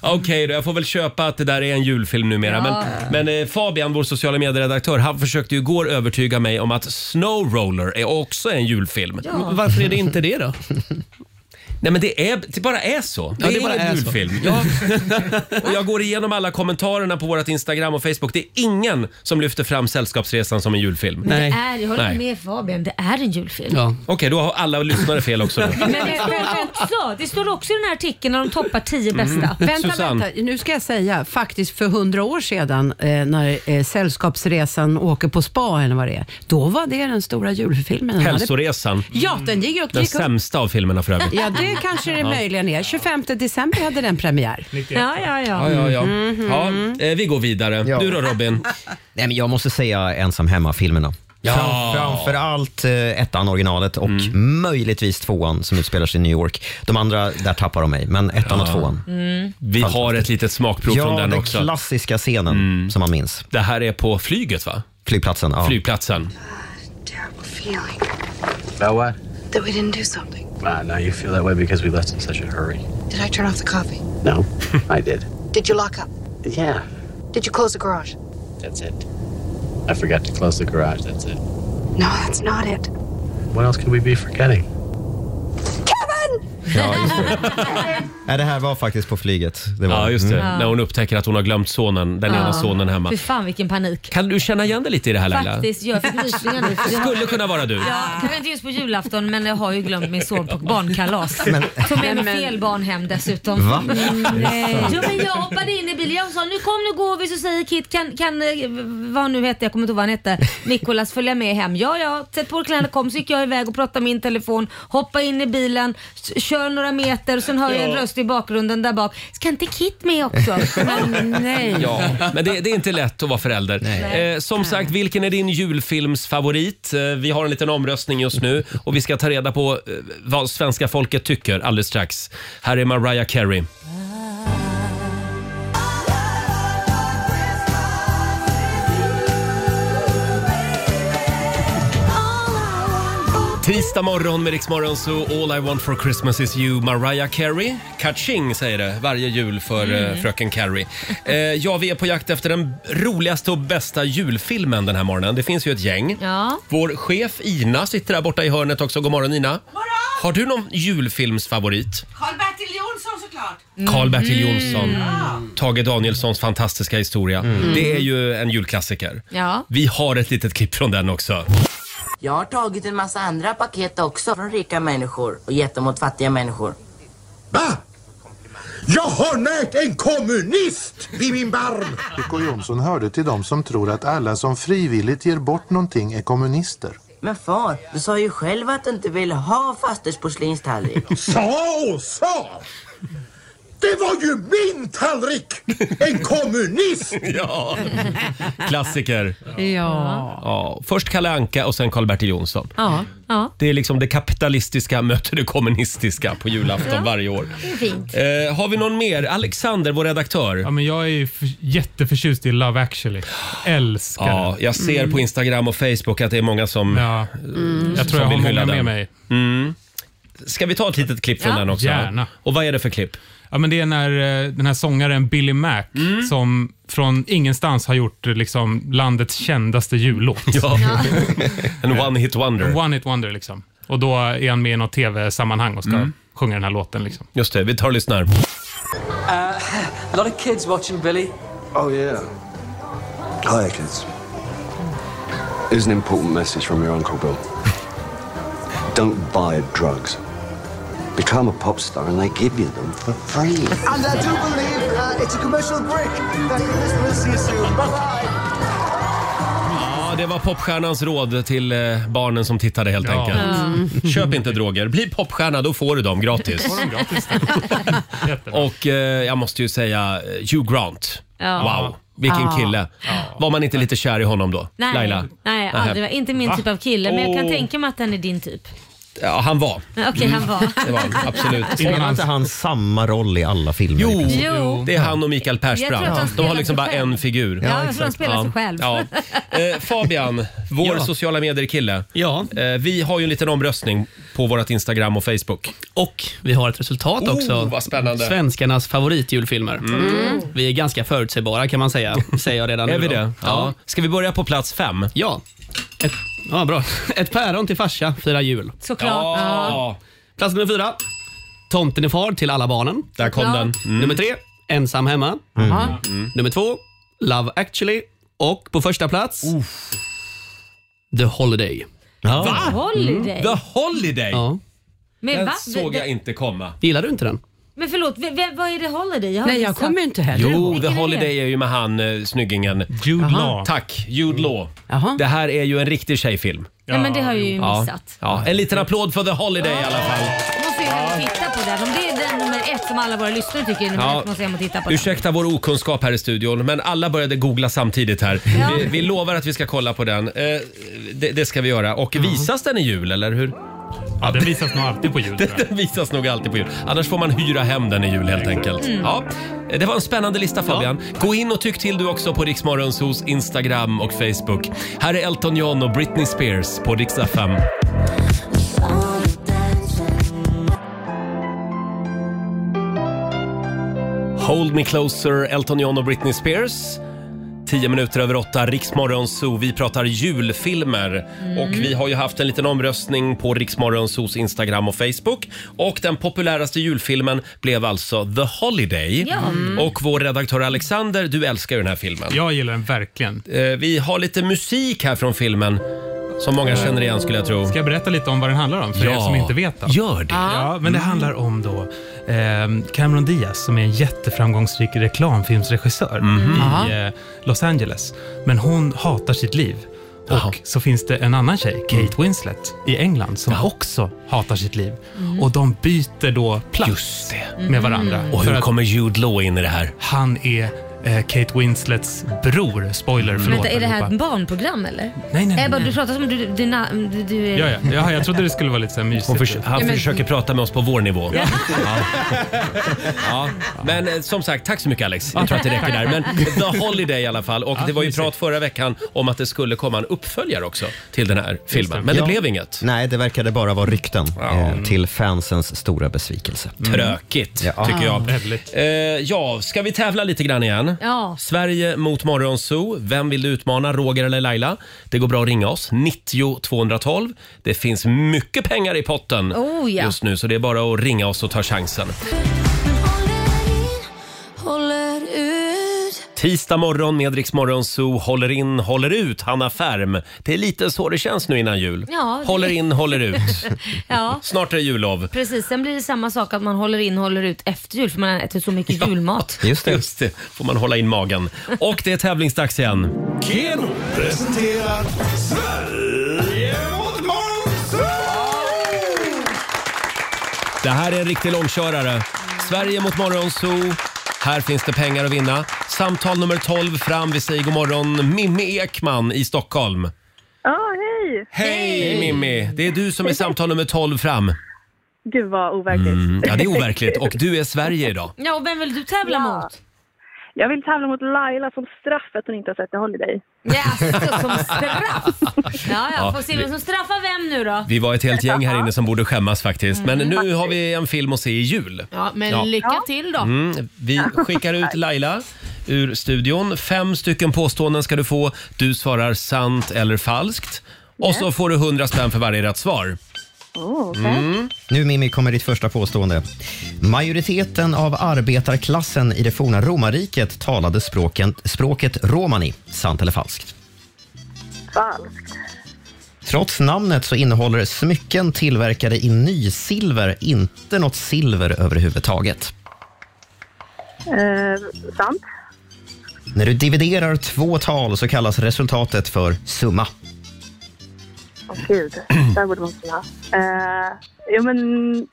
Okej då, jag får väl köpa att det där är en julfilm numera.
Ja.
Men, men eh, Fabian, vår sociala medieredaktör, han försökte ju igår övertyga mig om att Snow Roller är också en julfilm.
Ja. Men varför är det inte
det då? Nej men det, är, det bara är så.
Ja,
det,
det
är
bara
ingen
är så.
julfilm. Ja. och jag går igenom alla kommentarerna på vårt Instagram och Facebook. Det är ingen som lyfter fram Sällskapsresan som en julfilm.
Men Äh, det är, jag håller
Nej.
med Fabian, det är en julfilm.
Okej, då har alla lyssnare fel också. då.
Men det, men också, det står också i den här artikeln när de toppar 10 bästa.
Mm.
Vänta,
Susanne.
vänta. Nu ska jag säga, faktiskt för hundra år sedan eh, när eh, Sällskapsresan åker på spa eller vad det är, då var det den stora julfilmen. Den hade-
Hälsoresan.
Ja, den gick upp.
Den
gick upp.
sämsta av filmerna för övrigt.
Ja, det kanske det
Ja.
möjligen är. 25 december hade den premiär.
Ja, ja,
Ja, ja, ja. ja eh, vi går vidare.
Ja.
Du då Robin?
Nej, men jag måste säga ensam hemma-filmerna.
Ja.
Fram- Framförallt eh, ettan, originalet, och
Mm.
möjligtvis tvåan som utspelar sig i New York. De andra, där tappar de mig, men ettan och tvåan.
Mm.
Vi har ett litet smakprov
ja,
från den
den
också. Mm.
klassiska scenen som man minns.
Det här är på flyget va?
Flygplatsen, ja.
Flygplatsen.
feeling
About what?
that we didn't do something.
Ah, now you feel that way because we left in such a hurry.
Did I turn off the coffee?
No, I did.
Did you lock up?
Yeah,
Did you close the garage?
that's it. I forgot to close the garage. That's it.
No, that's not it.
What else could we be forgetting?
Nej, det här var faktiskt på flyget. Det var.
Ja, just det.
Mm.
När hon upptäcker att hon har glömt sonen, den ena
Ja.
sonen hemma.
Fy fan vilken panik.
Kan du känna igen dig lite i det här Laila?
Faktiskt, jag fick rysningar nu. för jag-
Skulle kunna vara du.
Ja, kanske inte just på julafton men jag har ju glömt min son på barnkalas.
Men-
Tog med mig
Men-
fel barn hem dessutom.
Va?
Mm,
Är det
Nej.
sant?
Jo, men jag hoppade in i bilen jag sa nu kom nu går vi så säger Kit kan, kan eh, vad han nu hette, jag kommer inte ihåg vad han hette, Nikolas följa med hem. Ja ja, sätt på er kläderna kom så gick jag iväg och pratade min telefon, hoppa in i bilen, s- kör några meter sen hör jag en
Ja.
röst i bakgrunden där bak. Ska inte Kit med också? Men nej.
Ja, men det, det är inte lätt att vara förälder.
Nej.
Eh, som sagt, vilken är din julfilmsfavorit? Eh, vi har en liten omröstning just nu och vi ska ta reda på eh, vad svenska folket tycker alldeles strax. Här är Mariah Carey. Tisdag morgon med Riksmorgon så All I want for Christmas is you Mariah Carey. Catching säger det varje jul för
Mm.
eh, fröken Carey. Eh, ja, vi är på jakt efter den roligaste och bästa julfilmen den här morgonen. Det finns ju ett gäng.
Ja.
Vår chef Ina sitter där borta i hörnet också. God morgon Ina. Har du någon julfilmsfavorit?
Karl-Bertil Jonsson såklart.
Karl-Bertil Jonsson, Tage Danielssons fantastiska historia. Det är ju en julklassiker.
Ja.
Vi har ett litet klipp från den också.
Jag har tagit en massa andra paket också från rika människor och gett dem åt fattiga människor.
Jag har närt en kommunist vid min barm! K Jonsson hörde till dem som tror att alla som frivilligt ger bort någonting är kommunister.
Men far, du sa ju själv att du inte ville ha fasters porslinstallrik.
Sa och sa! Det var ju min tallrik! En kommunist!
ja. Klassiker.
Ja.
Ja, först Kalle Anka och sen Karl-Bertil Jonsson.
Ja. ja.
Det är liksom det kapitalistiska möter det kommunistiska på julafton
Ja.
varje år.
Det är fint.
Eh, har vi någon mer? Alexander, vår redaktör. Ja,
men jag är ju f- jätteförtjust i Love actually. Älskar
Ja,
den.
jag ser på Instagram och Facebook att det är många som
Ja.
eh,
Jag tror jag
som vill
har
hylla
många med
den.
mig.
Mm. Ska vi ta ett litet klipp från
Ja.
den också?
Gärna.
Och vad är det för klipp?
Ja, men det är när eh, den här sångaren Billy Mac
Mm.
som från ingenstans har gjort eh, liksom, landets kändaste jullåt.
Ja. En one-hit wonder.
One-hit wonder liksom. Och då är han med i något tv-sammanhang och ska
Mm.
sjunga den här låten. Liksom.
Just det, vi tar och lyssnar.
Uh, a lot of kids watching Billy.
Oh yeah.
Hi, kids.
Here's an important message from your Uncle Bill. Don't buy drugs. Become a pop star and they give you them for free.
And I do believe uh, it's a commercial break. Thank you, Christmas. See you soon. Bye-bye.
Ja, det var popstjärnans råd till eh, barnen som tittade helt
Ja.
enkelt.
Mm.
Köp inte droger. Bli popstjärna, då får du dem gratis. Och eh, jag måste ju säga eh, Hugh Grant.
Ja.
Wow, vilken
Ja.
kille. Var man inte lite kär i honom då?
Nej,
Laila?
nej
Nähä.
aldrig. Inte min
Va?
typ av kille, men jag kan
Åh.
tänka mig att han är din typ.
Ja, han var.
Men Okej, han var.
Det var han, absolut.
Spelar inte han samma roll i alla filmer?
Jo,
Jo.
det är han och Mikael
Jag tror att
Persbrandt.
han
De har
spelar
liksom
sig
bara
själv.
en figur.
Ja, Ja, jag tror exakt. han spelar sig själv.
Ja. Eh, Fabian, vår
Ja.
sociala medier-kille. Eh, vi har ju en liten omröstning på vårt Instagram och Facebook.
eh, Och vi har ett resultat
Oh,
också.
vad spännande.
Svenskarnas favoritjulfilmer.
Mm.
Vi är ganska förutsägbara kan man säga. Säger jag redan
Är
nu
vi
då.
det? Ja. Ska vi börja på plats fem?
Ja. Ett, ja, bra. Ett päron till farsa firar jul.
Såklart. Ja.
Plats nummer fyra. Tomten är far till alla barnen. Mm.
Där
kom Såklart. den.
Nummer tre. Ensam hemma.
Mm. Ja.
Nummer två. Love actually. Och på första plats. The Holiday.
Va? Holiday?
The Holiday?
Ja.
Men
Mm. den
va?
såg jag inte komma.
Gillar du inte den?
Men förlåt, v- v- vad är det Holiday? Jag har
Nej, jag
missat.
kommer inte heller
Jo,
ihåg.
The Holiday är ju med han eh, snyggingen. Jude
Law.
Tack, Jude Law. Mm. Det här är ju en riktig tjejfilm.
Nej, men det har jag ju
Ja.
missat.
Ja. En liten applåd för The Holiday i alla fall.
Måste jag hem och titta på den. Om det är den nummer ett som alla våra lyssnare tycker är nummer
Ja.
ett måste jag hem och titta på den.
Ursäkta vår okunskap här i studion, men alla började googla samtidigt här.
Ja.
Vi, vi lovar att vi ska kolla på den. Eh, det, det ska vi göra. Och visas den i jul, eller hur? Ja, den visas nog alltid på jul. den, visas nog alltid på jul. Annars får man hyra hem den i jul helt enkelt.
Mm.
Ja. Eh, Det var en spännande lista Fabian. Gå in och tyck till du också på Riksmorgons hos Instagram och Facebook. Här är Elton John och Britney Spears på Rix FM. Hold Me Closer, Elton John och Britney Spears. Tio minuter över åtta, Riksmorgon Zoo. Vi pratar julfilmer.
Mm.
Och vi har ju haft en liten omröstning på Riksmorgon Zoos Instagram och Facebook. Och den populäraste julfilmen blev alltså The Holiday.
Ja. Mm.
Och vår redaktör Alexander, du älskar ju den här filmen. Jag gillar den verkligen. Vi har lite musik här från filmen. Som många känner igen skulle jag tro.
Eh, Ska jag berätta lite om vad den handlar om för
Ja.
er som inte vet? Då?
Gör det. Mm.
Ja, men det handlar om då ehm, Cameron Diaz som är en jätteframgångsrik reklamfilmsregissör
Mhm.
Aha.
i eh, Los Angeles. Men hon hatar sitt liv. Och så finns det en annan tjej,
Mm.
Kate Winslet, i England som också hatar sitt liv.
Mm.
Och de byter då plats med varandra.
Mm.
Och hur kommer Jude Law in i det här?
Han är eh, Kate Winslets bror.
Mm.
Spoiler, förlåt.
Vänta, är det här
allihopa.
ett barnprogram eller?
Nej, nej,
Ebba,
nej.
du pratar som du... Dina, du, du
Ja, ja. ja, jag trodde det skulle vara lite så här mysigt.
Hon förs- han
Typ. Ja, men-
försöker prata med oss på vår nivå. Ja. Ja. Men eh, som sagt, tack så mycket Alex. Jag tror att det räcker där. Men The Holiday i alla fall. Och det var ju prat förra veckan om att det skulle komma en uppföljare också till den här filmen. Men det
Ja.
blev inget.
Nej, det verkade bara vara rykten eh, till fansens stora besvikelse.
Mm.
Mm.
Trökigt, tycker jag. Eh, ja, ska vi tävla lite grann igen?
Ja.
Sverige mot Morgonzoo. Vem vill du utmana, Roger eller Laila? Det går bra att ringa oss. 90 212. Det finns mycket pengar i potten
Oh, ja.
just nu, så det är bara att ringa oss och ta chansen.
Håller ut.
Tisdag morgon med Rix Morgonzoo. Håller in, håller ut. Hanna Färm. Det är lite så det känns nu innan jul.
Ja, det-
Håller in, håller ut.
ja.
Snart är det jullov.
Precis, sen blir det samma sak att man håller in håller ut efter jul för man äter så mycket julmat.
Just det. Just det. Får man hålla in magen. Och det är tävlingsdags igen.
Keno presenterar Sverige mot
Det här är en riktig långkörare. Sverige mot Morgonzoo. Här finns det pengar att vinna. Samtal nummer 12 fram. Vi säger god morgon Mimmi Ekman i Stockholm.
Ja, hej!
Hej Mimmi! Det är du som är samtal nummer 12 fram.
Gud vad overkligt.
Mm, ja, det är overkligt. Och du är Sverige idag.
Ja, och vem vill du tävla mot?
Jag vill tävla mot Laila som straff för att hon inte har sett The Holiday.
Jaså, som straff? Ja, ja,
Ja,
får se
vi-
vem som straffar vem nu då.
Vi var ett helt gäng här inne som borde skämmas faktiskt. Men nu har vi en film att se i jul.
Ja, men
Ja.
lycka till då.
Mm, vi skickar ut Laila ur studion. Fem stycken påståenden ska du få. Du svarar sant eller falskt. Och så får du 100 spänn för varje rätt svar.
Mm. Nu Mimmi kommer ditt första påstående. Majoriteten av arbetarklassen i det forna romarriket talade språken, språket romani. Sant eller falskt?
Falskt.
Trots namnet så innehåller smycken tillverkade i nysilver inte något silver överhuvudtaget.
Eh, sant.
När du dividerar två tal så kallas resultatet för summa.
Åh gud, där borde man kunna. Eh, jo men,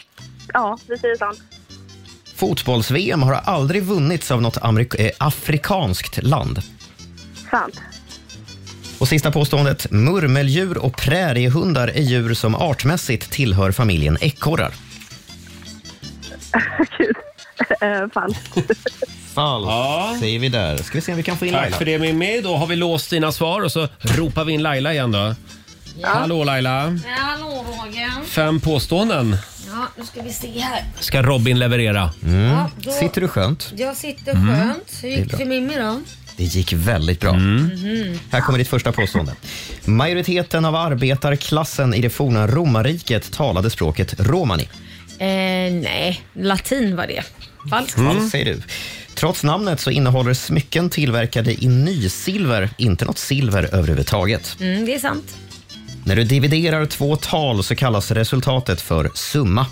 ja vi säger sant.
Fotbolls-VM har aldrig vunnits av något amerik- eh, afrikanskt land.
Sant.
Och sista påståendet. Murmeldjur och präriehundar är djur som artmässigt tillhör familjen ekorrar.
Eh, falskt.
Falskt, säger vi där. Ska vi se om vi kan få in
Tack
Laila.
för det Mimmi. Då har vi låst dina svar och så ropar vi in Laila igen då. Hallå Laila.
Ja, hallå Roger.
Fem påståenden
Ja, nu ska vi se här.
ska Robin leverera.
Ja, då- Sitter
du skönt?
Jag sitter
Mm.
skönt. Hur
Det är
gick
bra.
det för Mimmi då?
Det gick väldigt bra.
Mm.
Mhm.
Här kommer ditt första påstående. Majoriteten av arbetarklassen i det forna romarriket talade språket romani.
Eh, nej, latin var det. Falskt.
Mm.
Vad säger du? Trots namnet så innehåller smycken tillverkade i nysilver inte något silver överhuvudtaget.
Mm, det är sant.
När du dividerar två tal så kallas resultatet för summa.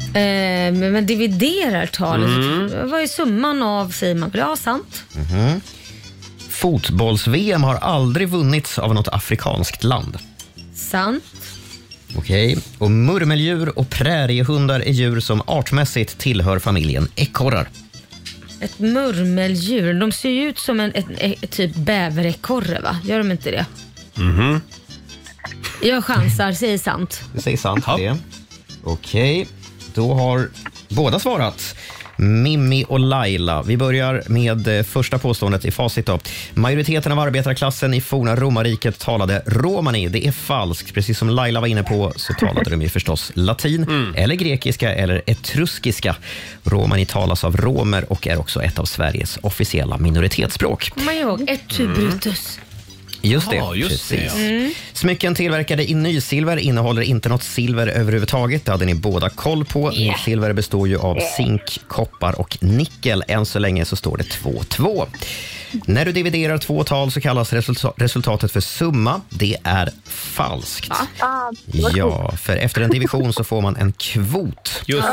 Eh, men men dividerar talet.
Mm.
Vad är summan av säger man? Ja, sant.
Mhm. Fotbolls-VM har aldrig vunnits av något afrikanskt land.
Sant.
Okej. Och murmeldjur och präriehundar är djur som artmässigt tillhör familjen ekorrar.
Ett murmeldjur. De ser ju ut som en ett, ett, typ bäverekorre va? Gör de inte det?
Mhm.
Jag chansar, säger sant.
Du säger sant det. Okej, då har båda svarat. Mimmi och Laila. Vi börjar med eh, första påståendet i facit. Då. Majoriteten av arbetarklassen i forna romarriket talade romani. Det är falskt. Precis som Laila var inne på så talade de ju förstås latin, eller grekiska eller etruskiska. Romani talas av romer och är också ett av Sveriges officiella minoritetsspråk.
Kommer man ihåg? Ett typ
Mm.
brutus.
Just det.
Ja, just det,
precis.
ja. Mm.
Smycken tillverkade i nysilver innehåller inte något silver överhuvudtaget. Det hade ni båda koll på. Nysilver består ju av zink, koppar och nickel. Än så länge så står det 2-2. När du dividerar två tal så kallas resulta- resultatet för summa. Det är falskt.
Ah,
Ja, för efter en division så får man en kvot.
Just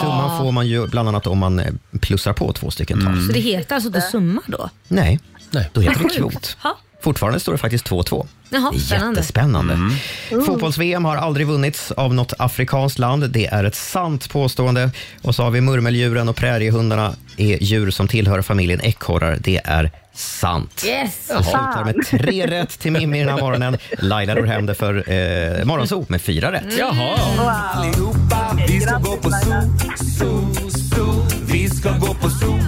Summan får man ju bland annat om man eh, plussar på två stycken tal.
Så det heter alltså inte summa då?
Nej, då heter det
Vad sjukt.
kvot.
Ja.
Fortfarande står det faktiskt 2-2.
Jaha,
Det är
spännande.
jättespännande.
Mm.
Fotbolls-VM har aldrig vunnits av något afrikanskt land. Det är ett sant påstående. Och så har vi murmeldjuren och präriehundarna är djur som tillhör familjen ekorrar. Det är sant.
Yes!
Jag slutar med tre rätt till Mimmi den här morgonen. Laila ror hem det för eh, morgonso med fyra rätt.
Allihopa, vi ska gå på zoo, zoo, zoo. Vi ska gå på zoo.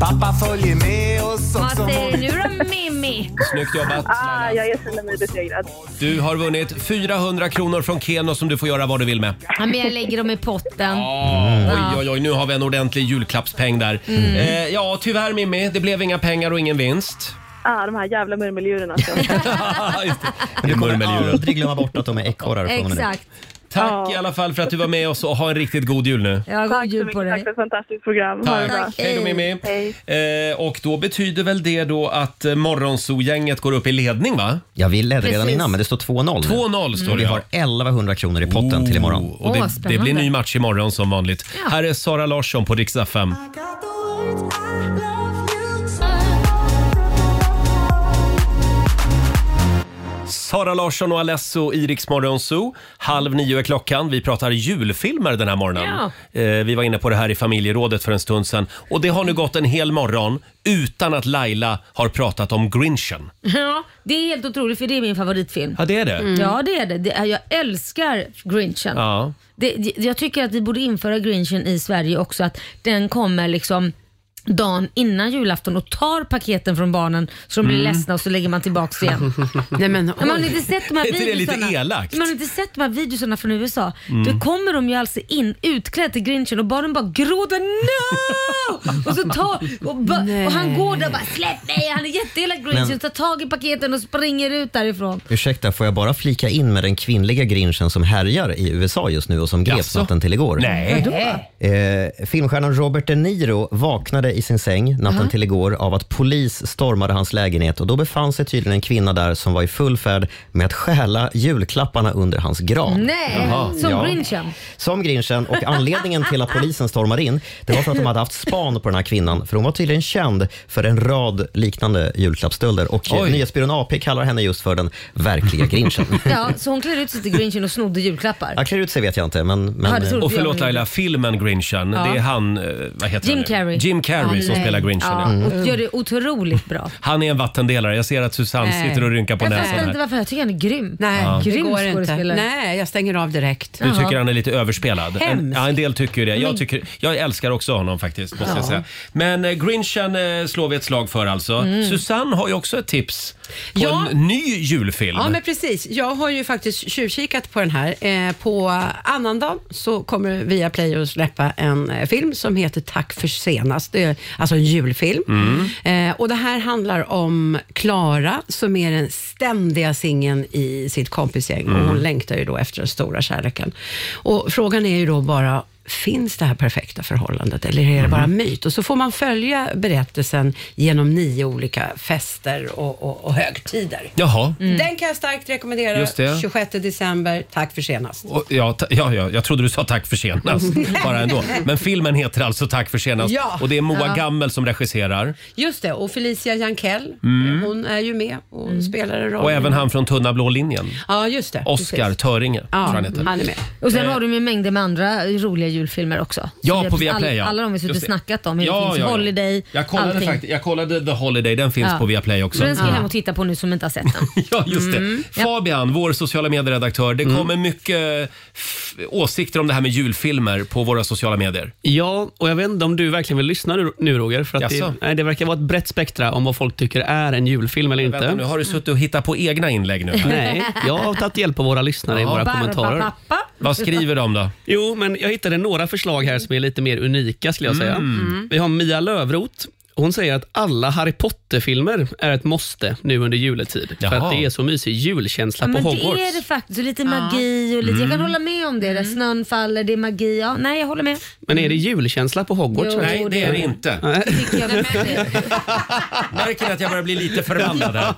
Pappa följer med oss
Vad
också.
säger du nu då Mimmi?
Snyggt jobbat.
ah, jag erkänner mig besegrad.
Du har vunnit 400 kronor från Keno som du får göra vad du vill med.
Ja, men jag lägger dem i potten.
Oj, oj, oj, nu har vi en ordentlig julklappspeng där.
Mm.
Eh, ja, tyvärr Mimmi, det blev inga pengar och ingen vinst.
Ah, de här jävla murmeldjuren alltså.
Men du
kommer aldrig glömma bort att de är ekorrar från och med nu.
Exakt.
Tack i alla fall för att du var med oss och ha en riktigt god jul nu.
Ja, god jul på dig.
Tack för ett fantastiskt program. Ha det
Tack.
bra.
Hej då, Mimmi.
Hej.
Eh, och då betyder väl det då att eh, Morgonzoo-gänget går upp i ledning va?
Ja, vi ledde redan
Precis.
innan, men det står 2-0 nu.
2-0 står det,
Och Vi
ja.
har 1100 kronor i potten till imorgon.
Och det, det blir ny match imorgon som vanligt. Här är Sara Larsson på Rix FM. Sara Larsson och Alesso i Rix Morgon Zoo. Halv nio är klockan. Vi pratar julfilmer den här morgonen. Eh, vi var inne på det här i familjerådet för en stund sedan. Och det har nu gått en hel morgon utan att Laila har pratat om Grinchen.
Ja, det är helt otroligt för det är min favoritfilm.
Ja, det är det. Mm.
Ja, det är det. det är, jag älskar Grinchen.
Ja.
Det, det- jag tycker att vi borde införa Grinchen i Sverige också, att den kommer liksom dagen innan julafton och tar paketen från barnen så de blir
Mm.
ledsna och så lägger man tillbaka det igen.
Nej, men,
Men man har inte sett de här
Är inte det lite
videosarna.
elakt?
Man har inte sett de här videosarna från USA.
Mm.
Då kommer de ju alltså in utklädda till Grinchen och barnen bara gråter no! och, så tar, och, ba, och han går där och bara släpp mig, han är jätteelak Grinchen,
Men-
tar tag i paketen och springer ut därifrån.
Ursäkta, får jag bara flika in med den kvinnliga grinchen som härjar i USA just nu och som greps natten till igår?
Nej. Vadå?
Eh, filmstjärnan Robert De Niro vaknade i sin säng natten
Aha.
till igår av att polis stormade hans lägenhet och då befann sig tydligen en kvinna där som var i full färd med att stjäla julklapparna under hans gran.
Nej,
Jaha.
som
Ja.
Grinchen.
Som Grinchen och anledningen till att polisen stormar in det var för att de hade haft span på den här kvinnan för hon var tydligen känd för en rad liknande julklappsstölder och eh,
Oj.
nyhetsbyrån AP kallar henne just för den verkliga Grinchen.
Ja, så hon klär ut sig till Grinchen och snodde julklappar.
Jag klär ut sig vet jag inte men...
Ja,
men
det trodde Och jag förlåt, med. Laila,
filmen Grinchen,
Ja.
det är han, eh, vad heter
Jim
han nu?
Carrey.
Jim Carrey
Ja,
som
nej.
spelar Grinchen.
Ja,
Ja.
Mm.
Och gör det otroligt bra.
Han är en vattendelare. Jag ser att Susanne
Nej.
sitter och rynkar på
jag
näsan
fattar inte
här.
varför, jag tycker han är grym.
Nej,
Ja.
det
Grym
går inte.
skådespelare.
Nej, jag stänger av direkt.
Du tycker han är lite överspelad? En,
Hemskt.
ja, en del tycker ju det.
Men-
Jag, tycker, jag älskar också honom faktiskt, måste
Ja.
jag säga. Men eh, Grinchen eh, slår vi ett slag för alltså.
Mm.
Susanne har ju också ett tips på
Ja.
en ny julfilm.
Ja, men precis. Jag har ju faktiskt tjuvkikat på den här. Eh, på annandagen så kommer Viaplay att släppa en eh, film som heter Tack för senast. Det är alltså en julfilm. Eh, och Det här handlar om Klara som är den ständiga singeln i sitt kompisgäng och hon
Mm.
längtar ju då efter den stora kärleken. Och Frågan är ju då bara, finns det här perfekta förhållandet eller är det bara en myt? Och så får man följa berättelsen genom nio olika fester och, och, och högtider.
Jaha.
Den kan jag starkt rekommendera.
Mm. Just det.
26 december. Tack för senast.
Och, ja, ta, ja, ja, jag trodde du sa tack för senast. Bara ändå. Men filmen heter alltså Tack för senast
Ja.
och det är Moa
Ja.
Gammel som regisserar.
Just det, och Felicia Jankell, eh,
Mm.
hon är ju med och spelar en roll.
Och även han från Tunna blå linjen.
Ja, just det.
Oscar
Precis.
Töringe tror
Ja,
han heter.
han är med.
Och sen
Eh.
har de ju mängder med andra roliga julfilmer också.
Ja,
Så
på
vi-
Viaplay,
all-
ja.
Alla de vi suttit
Just
och
det.
snackat om. Ja, finns Holiday,
jag kollade,
allting.
faktiskt- jag kollade The Holiday, den finns
Ja.
på Viaplay också.
Så Den ska jag hem och titta på nu som inte har sett den.
Ja, just det.
Mm.
Fabian, vår sociala medieredaktör. Det kommer mycket f- åsikter om det här med julfilmer på våra sociala medier.
Ja, och jag vet inte om du verkligen vill lyssna nu, nu Roger. För att
Jaså?
det, nej, det verkar vara ett brett spektra om vad folk tycker är en julfilm eller inte.
Vänta, nu har du suttit och hittat på egna inlägg nu.
Nej, jag har tagit hjälp av våra lyssnare i
Ja.
våra
Barba
kommentarer.
pappa. Vad skriver de då?
Jo, men jag hittade några förslag här som är lite mer unika skulle jag säga.
Mm.
Vi har Mia Lövrot. Hon säger att alla Harry Potter-filmer är ett måste nu under juletid. För att det är så mysig julkänsla
Ja,
på
men
Hogwarts.
det är det faktiskt. Och lite magi och lite... Jag kan
Mm.
hålla med om det. Där snön faller, det är magi. Ja, nej, jag håller med.
Men är det julkänsla på Hogwarts?
Jo,
Nej, det är det inte. Märker ni att jag börjar bli lite förbannad här?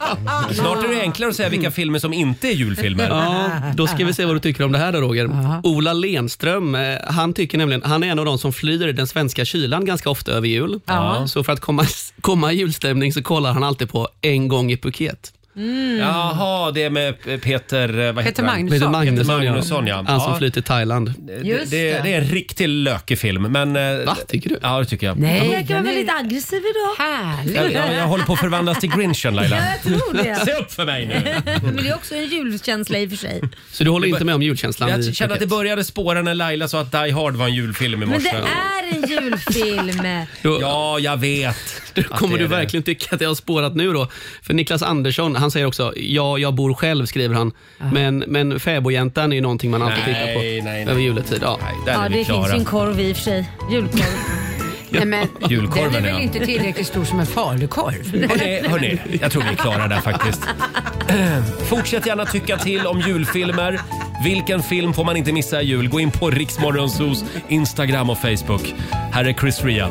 Snart är det enklare att säga
Mm.
vilka filmer som inte är julfilmer.
Ja, då ska vi se vad du tycker om det här då Roger. Ola Lenström, eh, han tycker nämligen, han är en av de som flyr den svenska kylan ganska ofta över jul.
Ja.
Så för att komma, komma i julstämning så kollar han alltid på En gång i Phuket.
Mm.
Jaha, det är med Peter... eh, Vad heter han?
Peter Magnusson,
Peter Magnusson ja.
Han som
Ja.
flyr till Thailand.
Det, det, det är en riktig lökig film. Men, Va,
tycker du?
Ja, det tycker jag.
Nej, verkar vara väldigt aggressiv idag.
Jag, jag, jag håller på att förvandlas till grinchen Laila.
Ja, jag tror det.
Se upp för mig nu.
Men det är också en julkänsla i och för sig.
Så du håller inte med om julkänslan i
Jag kände att
Phuket?
det började spåra när Laila sa att Die Hard var en julfilm i
Men det
morse.
är en julfilm.
Ja, jag vet.
Då
att
kommer
det
du
är det.
verkligen tycka att jag har spårat nu då. För Niklas Andersson, han säger också, ja, jag bor själv, skriver han. Men, men fäbodjäntan är ju någonting man alltid
Nej,
tittar på
nej, nej.
över juletid. Ja.
Ja, det finns ju en korv i och för sig. Julkorv.
Nej, men,
Julkorven,
den är
ja.
väl inte tillräckligt stor som en falukorv?
Hörrni, hörni, jag tror vi är klara där faktiskt. Ehm, Fortsätt gärna tycka till om julfilmer. Vilken film får man inte missa i jul? Gå in på Riksmorgonsos Instagram och Facebook. Här är Chris Ria.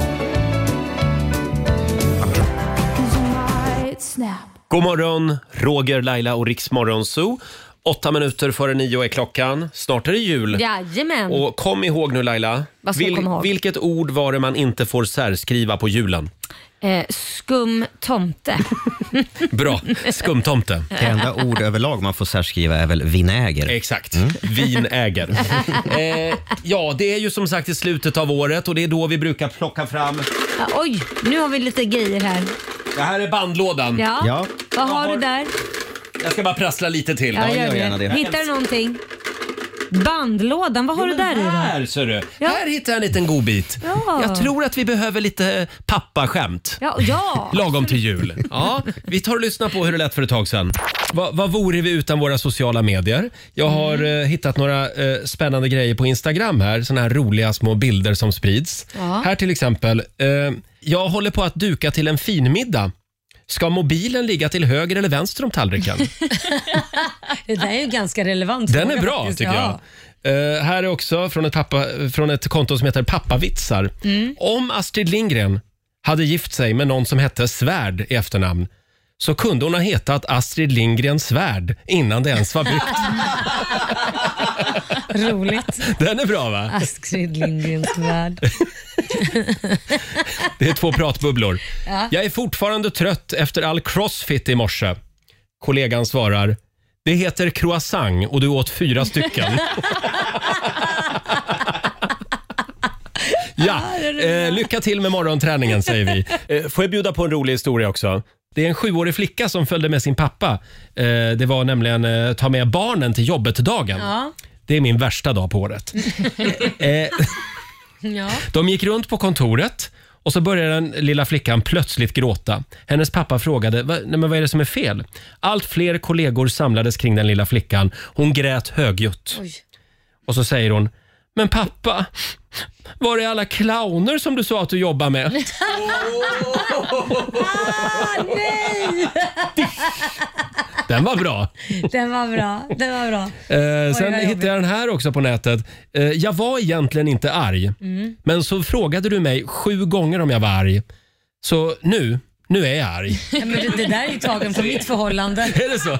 God morgon, Roger, Laila och Riksmorgonso. Åtta minuter före nio är klockan. Snart är det jul.
Jajamän.
Och kom ihåg nu Laila,
Vad ska jag komma ihåg?
vilket ord var det man inte får särskriva på julen?
Eh, skum tomte.
Bra, skumtomte.
Det enda ord överlag man får särskriva är väl vinäger.
Exakt. Vinäger. Eh, ja, det är ju som sagt i slutet av året och det är då vi brukar plocka fram...
Ja, oj, nu har vi lite grejer här.
Det här är bandlådan.
Ja. Vad har du där?
Jag ska bara prassla lite till.
Ja, gör det. Hittar du någonting? Bandlådan, vad har du där i då?
Här ser du. Här hittar jag en liten god bit.
Ja.
Jag tror att vi behöver lite pappaskämt.
Ja, ja.
Lagom till jul. Ja, vi tar och lyssnar på hur det lät för ett tag sedan. Va, vad vore vi utan våra sociala medier? Jag har eh, hittat några eh, spännande grejer på Instagram här. Såna här roliga små bilder som sprids.
Ja.
Här till exempel. Eh, jag håller på att duka till en fin middag. Ska mobilen ligga till höger eller vänster om tallriken?
Det där är ju ganska relevant.
Den är
fråga
bra
faktiskt.
tycker jag. Eh, här är också från ett, pappa, från ett konto som heter Pappavitsar.
Mm.
Om Astrid Lindgren hade gift sig med någon som hette Svärd i efternamn så kunde hon ha hetat Astrid Lindgren Svärd innan det ens var byggt.
Roligt.
Den är bra va?
Astrid Lindgrens värld.
Det är två pratbubblor.
Ja.
Jag är fortfarande trött efter all crossfit i morse. Kollegan svarar. Det heter croissant och du åt fyra stycken. ja, eh, lycka till med morgonträningen säger vi. Eh, får jag bjuda på en rolig historia också? Det är en sjuårig flicka som följde med sin pappa. Eh, det var nämligen eh, ta med barnen till jobbet-dagen.
Ja.
Det är min värsta dag på året. Eh,
ja.
de gick runt på kontoret och så började den lilla flickan plötsligt gråta. Hennes pappa frågade "Va- Nej, men vad är det som är fel. Allt fler kollegor samlades kring den lilla flickan. Hon grät högljutt.
Oj.
Och så säger hon Men pappa, var är alla clowner som du sa att du jobbar med?
ah, nej!
Den var bra.
Den var bra. Den var bra.
Eh, sen
vad jobbigt.
hittade jag den här också på nätet. Eh, jag var egentligen inte arg,
Mm.
men så frågade du mig sju gånger om jag var arg. Så nu, nu är jag arg.
Ja, men det, det där är ju tagen från mitt förhållande.
Är det så?